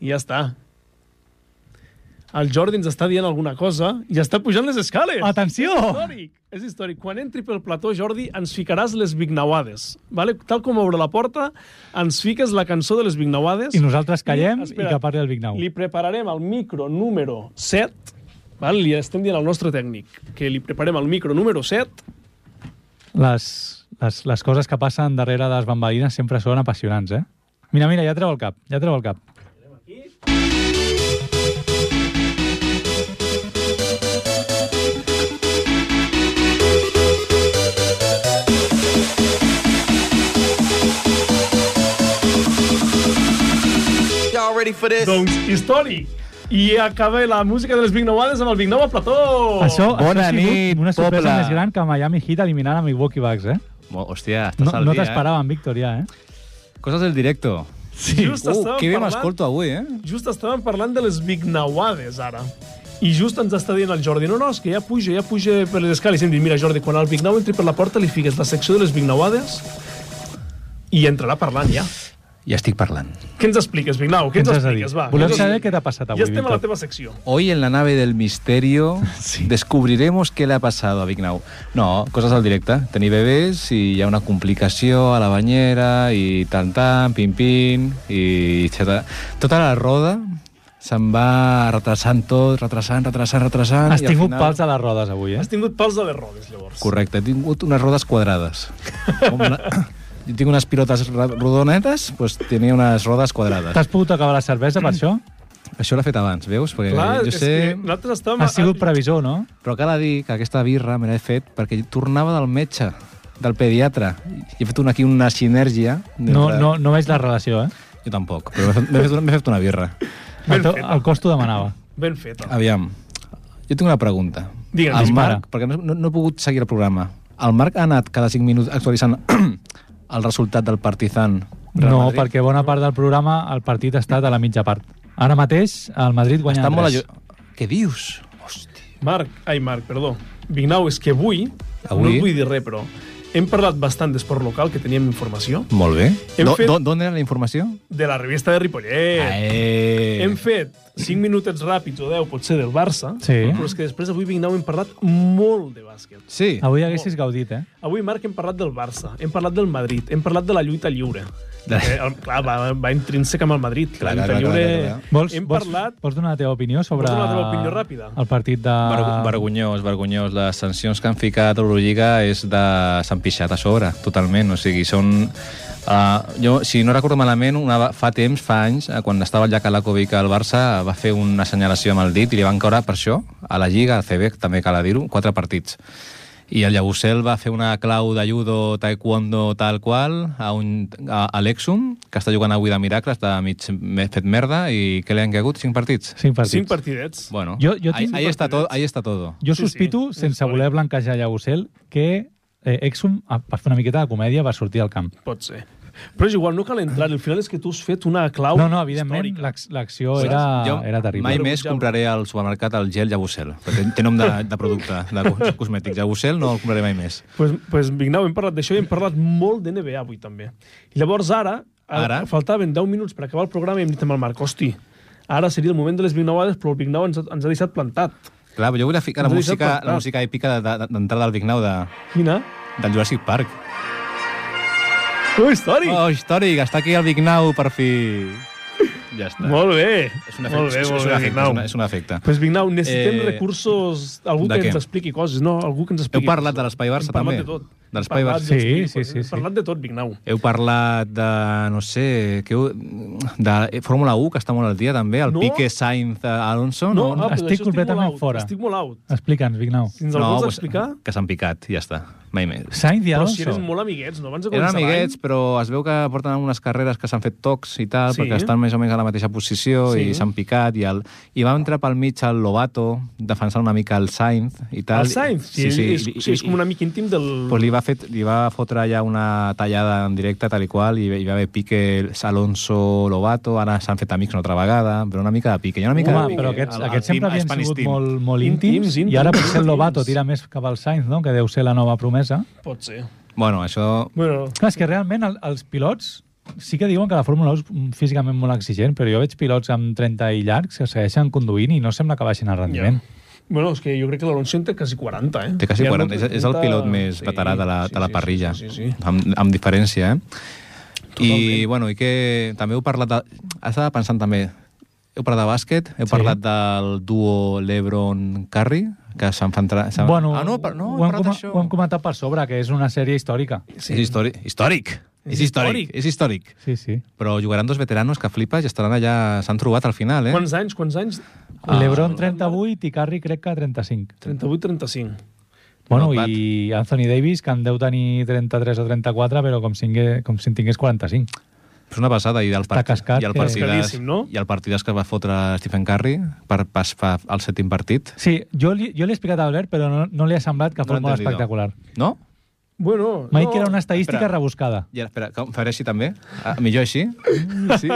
A: I ja està. El Jordi ens està dient alguna cosa i està pujant les escales.
B: Ah, Atenció!
A: És històric, és històric. Quan entri pel plató, Jordi, ens ficaràs les bignauades. Vale? Tal com obre la porta, ens fiques la cançó de les bignauades.
B: I nosaltres callem i,
A: espera,
B: que parli el Vignau.
A: Li prepararem el micro número 7. Val? Li estem dient al nostre tècnic que li preparem el micro número 7
B: Les, les, les coses que passen darrere de les bambalines sempre són apassionants, eh? Mira, mira, ja treu el cap, ja treu el cap.
D: Y'all ready for this?
A: Doncs històric. I acaba la música de les Vignauades amb el Vignou al plató.
B: Això, això
E: Bona
B: ha sigut
E: nit,
B: una sorpresa
E: poble.
B: més gran que Miami Heat eliminant a Milwaukee Bucks, eh?
E: Mo- Hòstia, estàs
B: No,
E: al
B: no
E: dia,
B: t'esperaven, Víctor, ja, eh?
E: Eh? Coses del directo.
A: Sí. Just
E: Uh,
A: estàvem
E: que bé
A: parlant-
E: m'escolto avui, eh?
A: Just estàvem parlant de les Vignauades, ara. I just ens està dient el Jordi, no, no, és que ja puja, ja puja per les escales. I hem dit, mira, Jordi, quan el Vignau entri per la porta li fiques la secció de les Vignauades i entrarà parlant ja.
E: Ja estic parlant.
A: Què ens expliques, Vignau? Què ens
B: has de dir?
A: expliques? Va,
B: Volem
A: ens
B: saber
A: expliques?
B: què t'ha passat avui, Eh?
A: Ja estem a la
B: Víctor.
A: teva secció.
E: Hoy en la nave del misterio descubriremos qué le ha pasado a Vignau. No, cosas al directe. Tenir bebès i hi ha una complicació a la banyera i tan tan, pim pim i etcètera. Tota la roda se'n va retrasant tot, retrasant, retrasant, retrasant.
B: Has
E: i al
B: tingut
E: final-
B: pals a les rodes avui, eh?
A: Has tingut pals de les rodes, llavors.
E: Correcte, he tingut unes rodes quadrades. Com una... Jo tinc unes pilotes ra- rodonetes, doncs tenia unes rodes quadrades.
B: T'has pogut acabar la cervesa per això?
E: Això l'he fet abans, veus? Perquè
A: Clar,
E: jo
A: és
E: sé...
A: que nosaltres estàvem...
B: Has sigut previsor, no?
E: Però cal dir que aquesta birra me l'he fet perquè jo tornava del metge, del pediatre. I he fet una, aquí una sinergia.
B: No,
E: entre-
B: no, no veig la relació, eh?
E: Jo tampoc, però m'he fet, m'he fet, una- m'he fet una birra.
A: Ben
B: El, teu-
A: feta.
B: el cos t'ho demanava.
A: Ben feta.
E: Aviam, jo tinc una pregunta.
A: Digue'm,
E: el
B: dispara.
E: Marc, perquè no, no, no he pogut seguir el programa, el Marc ha anat cada 5 minuts actualitzant el resultat del Partizan Real
B: No,
E: Madrid?
B: perquè bona part del programa el partit ha estat a la mitja part. Ara mateix el Madrid guanya
E: Està molt
B: tres.
E: allo... Què dius? Hòstia.
A: Marc, ai, Marc, perdó. Vignau, és que avui, avui?
E: Avui?
A: no et vull dir res, però hem parlat bastant d'esport local, que teníem informació,
E: Molt bé.
A: Hem
E: Do,
A: fet-
E: do, d'on era la informació?
A: de la revista de Ripollet.
E: Eh.
A: Hem fet 5 minutets ràpids o 10, potser, del Barça,
B: Sí.
A: però és que després avui, Vignau, hem parlat molt de bàsquet.
E: Sí.
B: Avui haguessis gaudit, eh?
A: Avui, Marc, hem parlat del Barça, hem parlat del Madrid, hem parlat de la lluita lliure.
E: De-
A: Eh, el, clar, va, va intrínseca amb el Madrid.
E: Clar,
A: la lluita
E: clar, clar,
A: lliure...
E: clar, clar.
B: Vols,
A: hem
B: vols,
A: parlat...
B: vols donar la teva opinió sobre
A: Vols donar la teva opinió ràpida?
B: el partit de...
E: Vergo- Vergonyós, vergonyós. Les sancions que han ficat a l'Eurolliga és de... s'han pixat a sobre, totalment. O sigui, són... Uh, jo, si no recordo malament, una, fa temps, fa anys, eh, quan estava el Jack Alakovic al Barça, va fer una senyalació amb el dit i li van caure per això, a la Lliga, al CB, també cal dir-ho, quatre partits. I el Llagosel va fer una clau de judo, taekwondo, tal qual, a, un, a, a l'Exum, que està jugant avui de Miracle, està mig me- fet merda, i què li han caigut? Cinc partits?
B: Cinc partits.
A: 5 partidets.
E: Bueno,
B: Jo- jo
E: ahí,
B: tinc-
E: ahí, está todo, ahí está todo.
B: Jo
A: Sí,
B: sospito,
A: sí,
B: sense voler ah, blanquejar Llagosel, que eh, Exum, a- per fer una miqueta de comèdia, va sortir al camp.
A: Pot ser. Però és igual, no cal entrar. Al final és que tu has fet una clau
B: No, no, evidentment,
A: històrica.
B: l'acc- l'acció era, Ah, era terrible.
E: Mai més compraré al supermercat el gel Jabusel, perquè té nom de, de producte de cos- cosmètic. Jabusel no el compraré mai més.
A: Pues, pues, Vignau, hem parlat d'això i hem parlat molt de NBA avui, també. I llavors, ara, ara,
E: Ara?
A: faltaven 10 minuts per acabar el programa i hem dit amb el Marc, hosti, ara seria el moment de les Vignauades, però el Vignau ens, ha- ens ha deixat plantat.
E: Clar, però jo vull ficar la
A: Ens ho he deixat
E: música,
A: plantat.
E: la música èpica de- de- d'entrada del Big Now de,
A: Quina?
E: del Jurassic Park.
A: Oh, històric!
E: Oh, històric, està aquí el Big Now, per fi. Ja està.
A: Molt bé!
E: oh. És un
A: molt
E: efecte.
A: bé,
E: és-
A: molt
E: és un
A: bé,
E: efecte, és
A: Vignau.
E: una- És un efecte.
A: Pues Vignau, necessitem
E: Eh,
A: eh, recursos, algú
E: de
A: que ens
E: què?
A: expliqui coses, no? Algú que ens
E: Heu
A: expliqui
E: parlat
A: coses.
E: de l'Espai Barça,
A: Hem parlat
E: també?
A: de tot.
E: De
A: Hem
E: l'Espai
A: parlat
E: Barça.
A: dels
B: Sí,
A: Clippers,
B: sí, sí,
A: Hem
B: sí.
A: parlat de tot, Vignau.
E: Heu parlat de, no sé, que, heu- de Fórmula 1, que està molt al dia, també, el
A: No.
E: no. Pique Sainz eh, Alonso.
A: No, ah, però
B: estic
A: d'això
B: completament
A: molt out,
B: fora.
A: Estic molt out.
B: Explica'ns, Vignau.
A: Si ens el vols
E: pues,
A: explicar...
E: Que s'han picat, ja està. Mai més.
B: Sainz i
A: Però si
B: Alonso.
A: eren molt amiguets, no? Abans de
E: Eren
A: començar l'any.
E: amiguets, però es veu que porten unes carreres que s'han fet tocs i tal,
A: Sí.
E: sí. perquè estan més o menys a la mateixa posició
A: Sí.
E: sí. i s'han picat. I, el, I va entrar pel mig el Lobato, defensant una mica el Sainz i tal.
A: El Sainz, sí, sí, és, sí, és com un amic íntim del...
E: Pues li, va fer, li va fotre allà una tallada en directe, tal i qual, i hi va haver Pique, Alonso, Lobato, ara s'han fet amics una altra vegada, però una mica de Pique. Hi ha una mica
B: Home,
E: de
B: però
E: pique
B: aquests,
E: al- al
B: aquests sempre
E: team
B: havien
E: Spanish
B: sigut
E: team.
B: molt, molt íntims,
A: Íntims, íntims,
B: i ara potser el Lobato
A: íntims.
B: tira més cap al Sainz, no? que deu ser la nova promesa.
A: Pot ser.
E: Bueno, això...
A: Bueno,
B: Clar, és que realment el, els pilots sí que diuen que la Fórmula 1 és mm, físicament molt exigent, però jo veig pilots amb 30 i llargs que segueixen conduint i no sembla que baixin el rendiment.
A: bueno, és que jo crec que l'Alonso en té quasi 40, eh?
E: Té quasi
A: Ja no
E: 40. És, és el
A: 30,
E: pilot més
A: sí,
E: veterà de la,
A: sí,
E: de la
A: sí,
E: parrilla,
A: Sí, sí, sí.
E: Amb, amb diferència, eh? I,
A: Totalment.
E: bueno, i que també heu parlat... De, estava pensant també... Heu parlat de bàsquet, heu parlat del duo LeBron-Curry, que s'han fan... tra- s'han-
B: Bueno,
E: ah, no, per, no,
B: ho,
E: he
B: hem
E: parlat
B: coma-
E: d'això.
B: ho hem comentat per sobre, que és una sèrie històrica.
E: És històric. Històric! És històric, és històric.
B: Sí, sí.
E: Però jugaran dos veteranos que flipes i estaran allà... S'han trobat al final, eh?
A: Quants anys, quants anys?
B: Ah, Lebron 38 i Curry crec que 35.
A: 38-35.
B: Bueno,
E: clar.
B: i Anthony Davis, que en deu tenir 33 o 34, però com si, tingué, com si en tingués 45.
E: És una passada. I el, part...
B: cascat,
E: i el
B: eh?
E: partidàs,
A: Cascadíssim, no?
E: I el partidàs que va fotre Stephen Curry per passar al sèptim partit.
B: Sí, jo li, jo l'he explicat a Albert, però no, no li ha semblat que
E: No
B: fos molt
E: l'he entendido.
B: espectacular.
E: No?
A: Bueno,
B: Mai
A: no,
B: que era una estadística
E: espera.
B: rebuscada.
E: I ara, espera, com, faré així també? Ah, millor així? Mm, Sí.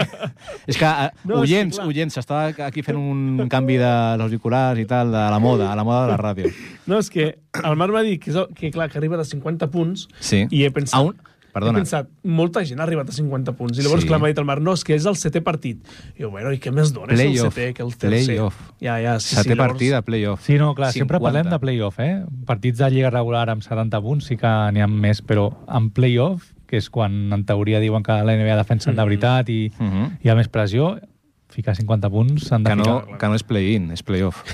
E: és que, uh,
A: No,
E: no,
A: és que
E: oients,
A: clar.
E: oients, s'està aquí fent un canvi dels auriculars i tal, de la moda, a la moda de la ràdio.
A: No, és que el Marc m'ha dit que, és el, que, clar, que arriba de 50 punts
E: Sí.
A: i he pensat...
E: A un- Perdona.
A: He pensat, molta gent ha arribat a 50 punts. I llavors,
E: Sí.
A: sí. clar, m'ha dit el Marc, no, és que és el setè partit. I jo, bueno, i què més dona? És el
E: Playoff,
A: setè que el tercer.
E: playoff.
A: Ja, ja, sí,
E: Setè
A: sí, llavors-
E: partit de playoff.
B: Sí, no, clar, sempre
E: 50.
B: parlem de playoff, eh? Partits de lliga regular amb 70 punts sí que n'hi ha més, però en playoff, que és quan en teoria diuen que la NBA defensen
E: Mm.
B: de veritat i
E: Mhm.
B: hi ha més pressió, ficar 50 punts s'han de
E: Que no,
B: ficar.
E: que no és play-in, és playoff.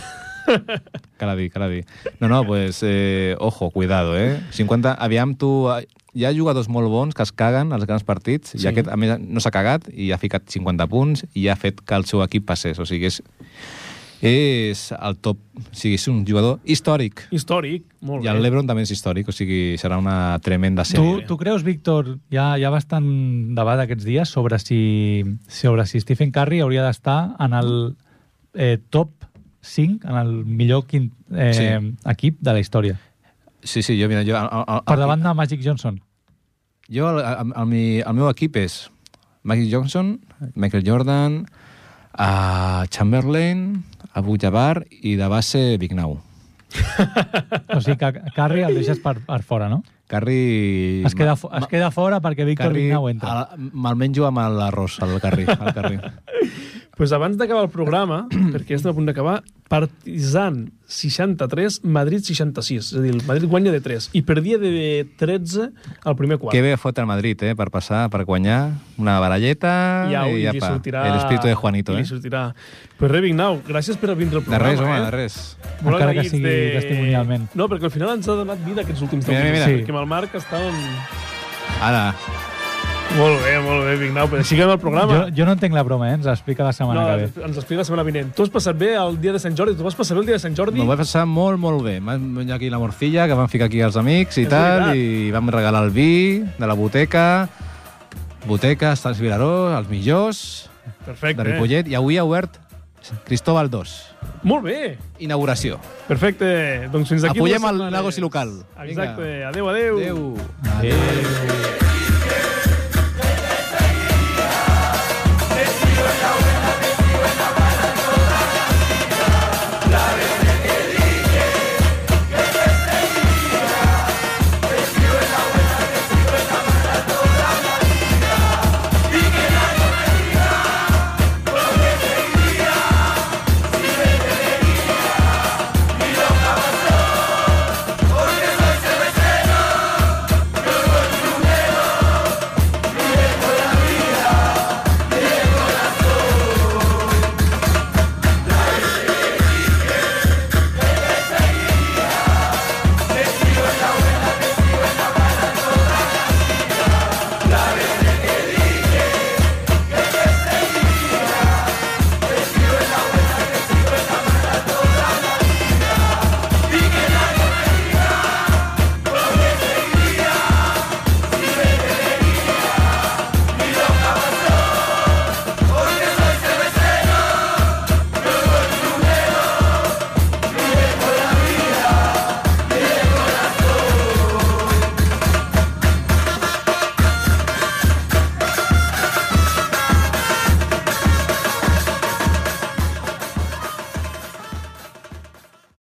E: Cala dir, cala dir. No, no, pues, eh, ojo, cuidado, eh? 50, aviam tu... eh, Hi ha jugadors molt bons que es caguen als grans partits sí. i aquest, a més, no s'ha cagat i ha ficat 50 punts i ha fet que el seu equip passés. O sigui, és, és el top... O sigui, és un jugador històric.
A: Històric, molt
E: I el
A: bé.
E: Lebron també és històric, o sigui, serà una tremenda
B: Tu,
E: sèrie.
B: tu creus, Víctor, hi ha, hi ha bastant debat aquests dies sobre si, sobre si Stephen Curry hauria d'estar en el eh, top 5, en el millor quint, eh, sí.
E: Sí.
B: equip de la història.
E: Sí, sí, jo, mira, jo... El, el,
B: Per davant de Magic Johnson.
E: Jo, el, el, el, mi- el meu equip és Michael Johnson, Michael Jordan, uh, Chamberlain, Abu Jabbar i de base Big Now.
B: O sigui que Curry el deixes per, per fora, no?
E: Carri...
B: Es queda, fo- es queda fora perquè Víctor
E: Carri-
B: Vignau
A: ah,
B: entra.
E: el- Me'l menjo amb l'arròs, al carrer. Al carrer.
A: pues abans d'acabar el programa, perquè estem a punt d'acabar, Partizan 63, Madrid 66. És a dir, el Madrid guanya de 3 i perdia de 13 al primer quart.
E: que bé fotre el Madrid, eh? Per passar, per guanyar una baralleta
A: I, au, i
E: i,
A: li
E: apa,
A: sortirà...
E: el espíritu de Juanito,
A: I
E: eh?
A: li sortirà. Pues re, Vignau, gràcies per vindre al
E: De
A: programa.
E: res, home,
A: eh?
E: de res.
A: Molt
B: Encara que
A: agraïts
B: sigui testimonialment.
A: No, perquè al final ens ha donat vida aquests últims
E: Mira,
A: temps.
E: mira,
B: mira.
A: Perquè amb el Marc estàvem...
E: Ara,
A: Molt bé, molt bé, Vignau. Pues així acabem el programa.
B: Jo, jo no entenc la broma, eh? Ens l'explica la
A: No,
B: setmana que ve.
A: ens ens explica la setmana vinent. Tu has passat bé el dia de Sant Jordi? Tu vas passar bé el dia de Sant Jordi?
E: M'ho va passar molt, molt bé. Vam venir aquí la morcilla, que vam ficar aquí els amics i
A: És
E: tal,
A: veritat.
E: i vam regalar el vi de la boteca, boteca, Sants Vilaró, els millors,
A: Perfecte. eh?
E: de Ripollet, i avui ha obert Cristóbal II.
A: Molt bé.
E: Inauguració.
A: Perfecte. Doncs fins aquí.
E: Apoyem
A: dues
E: el
A: setmanes.
E: negoci local. Vinga.
A: Exacte. Adéu, adéu.
E: Adéu.
B: Adéu.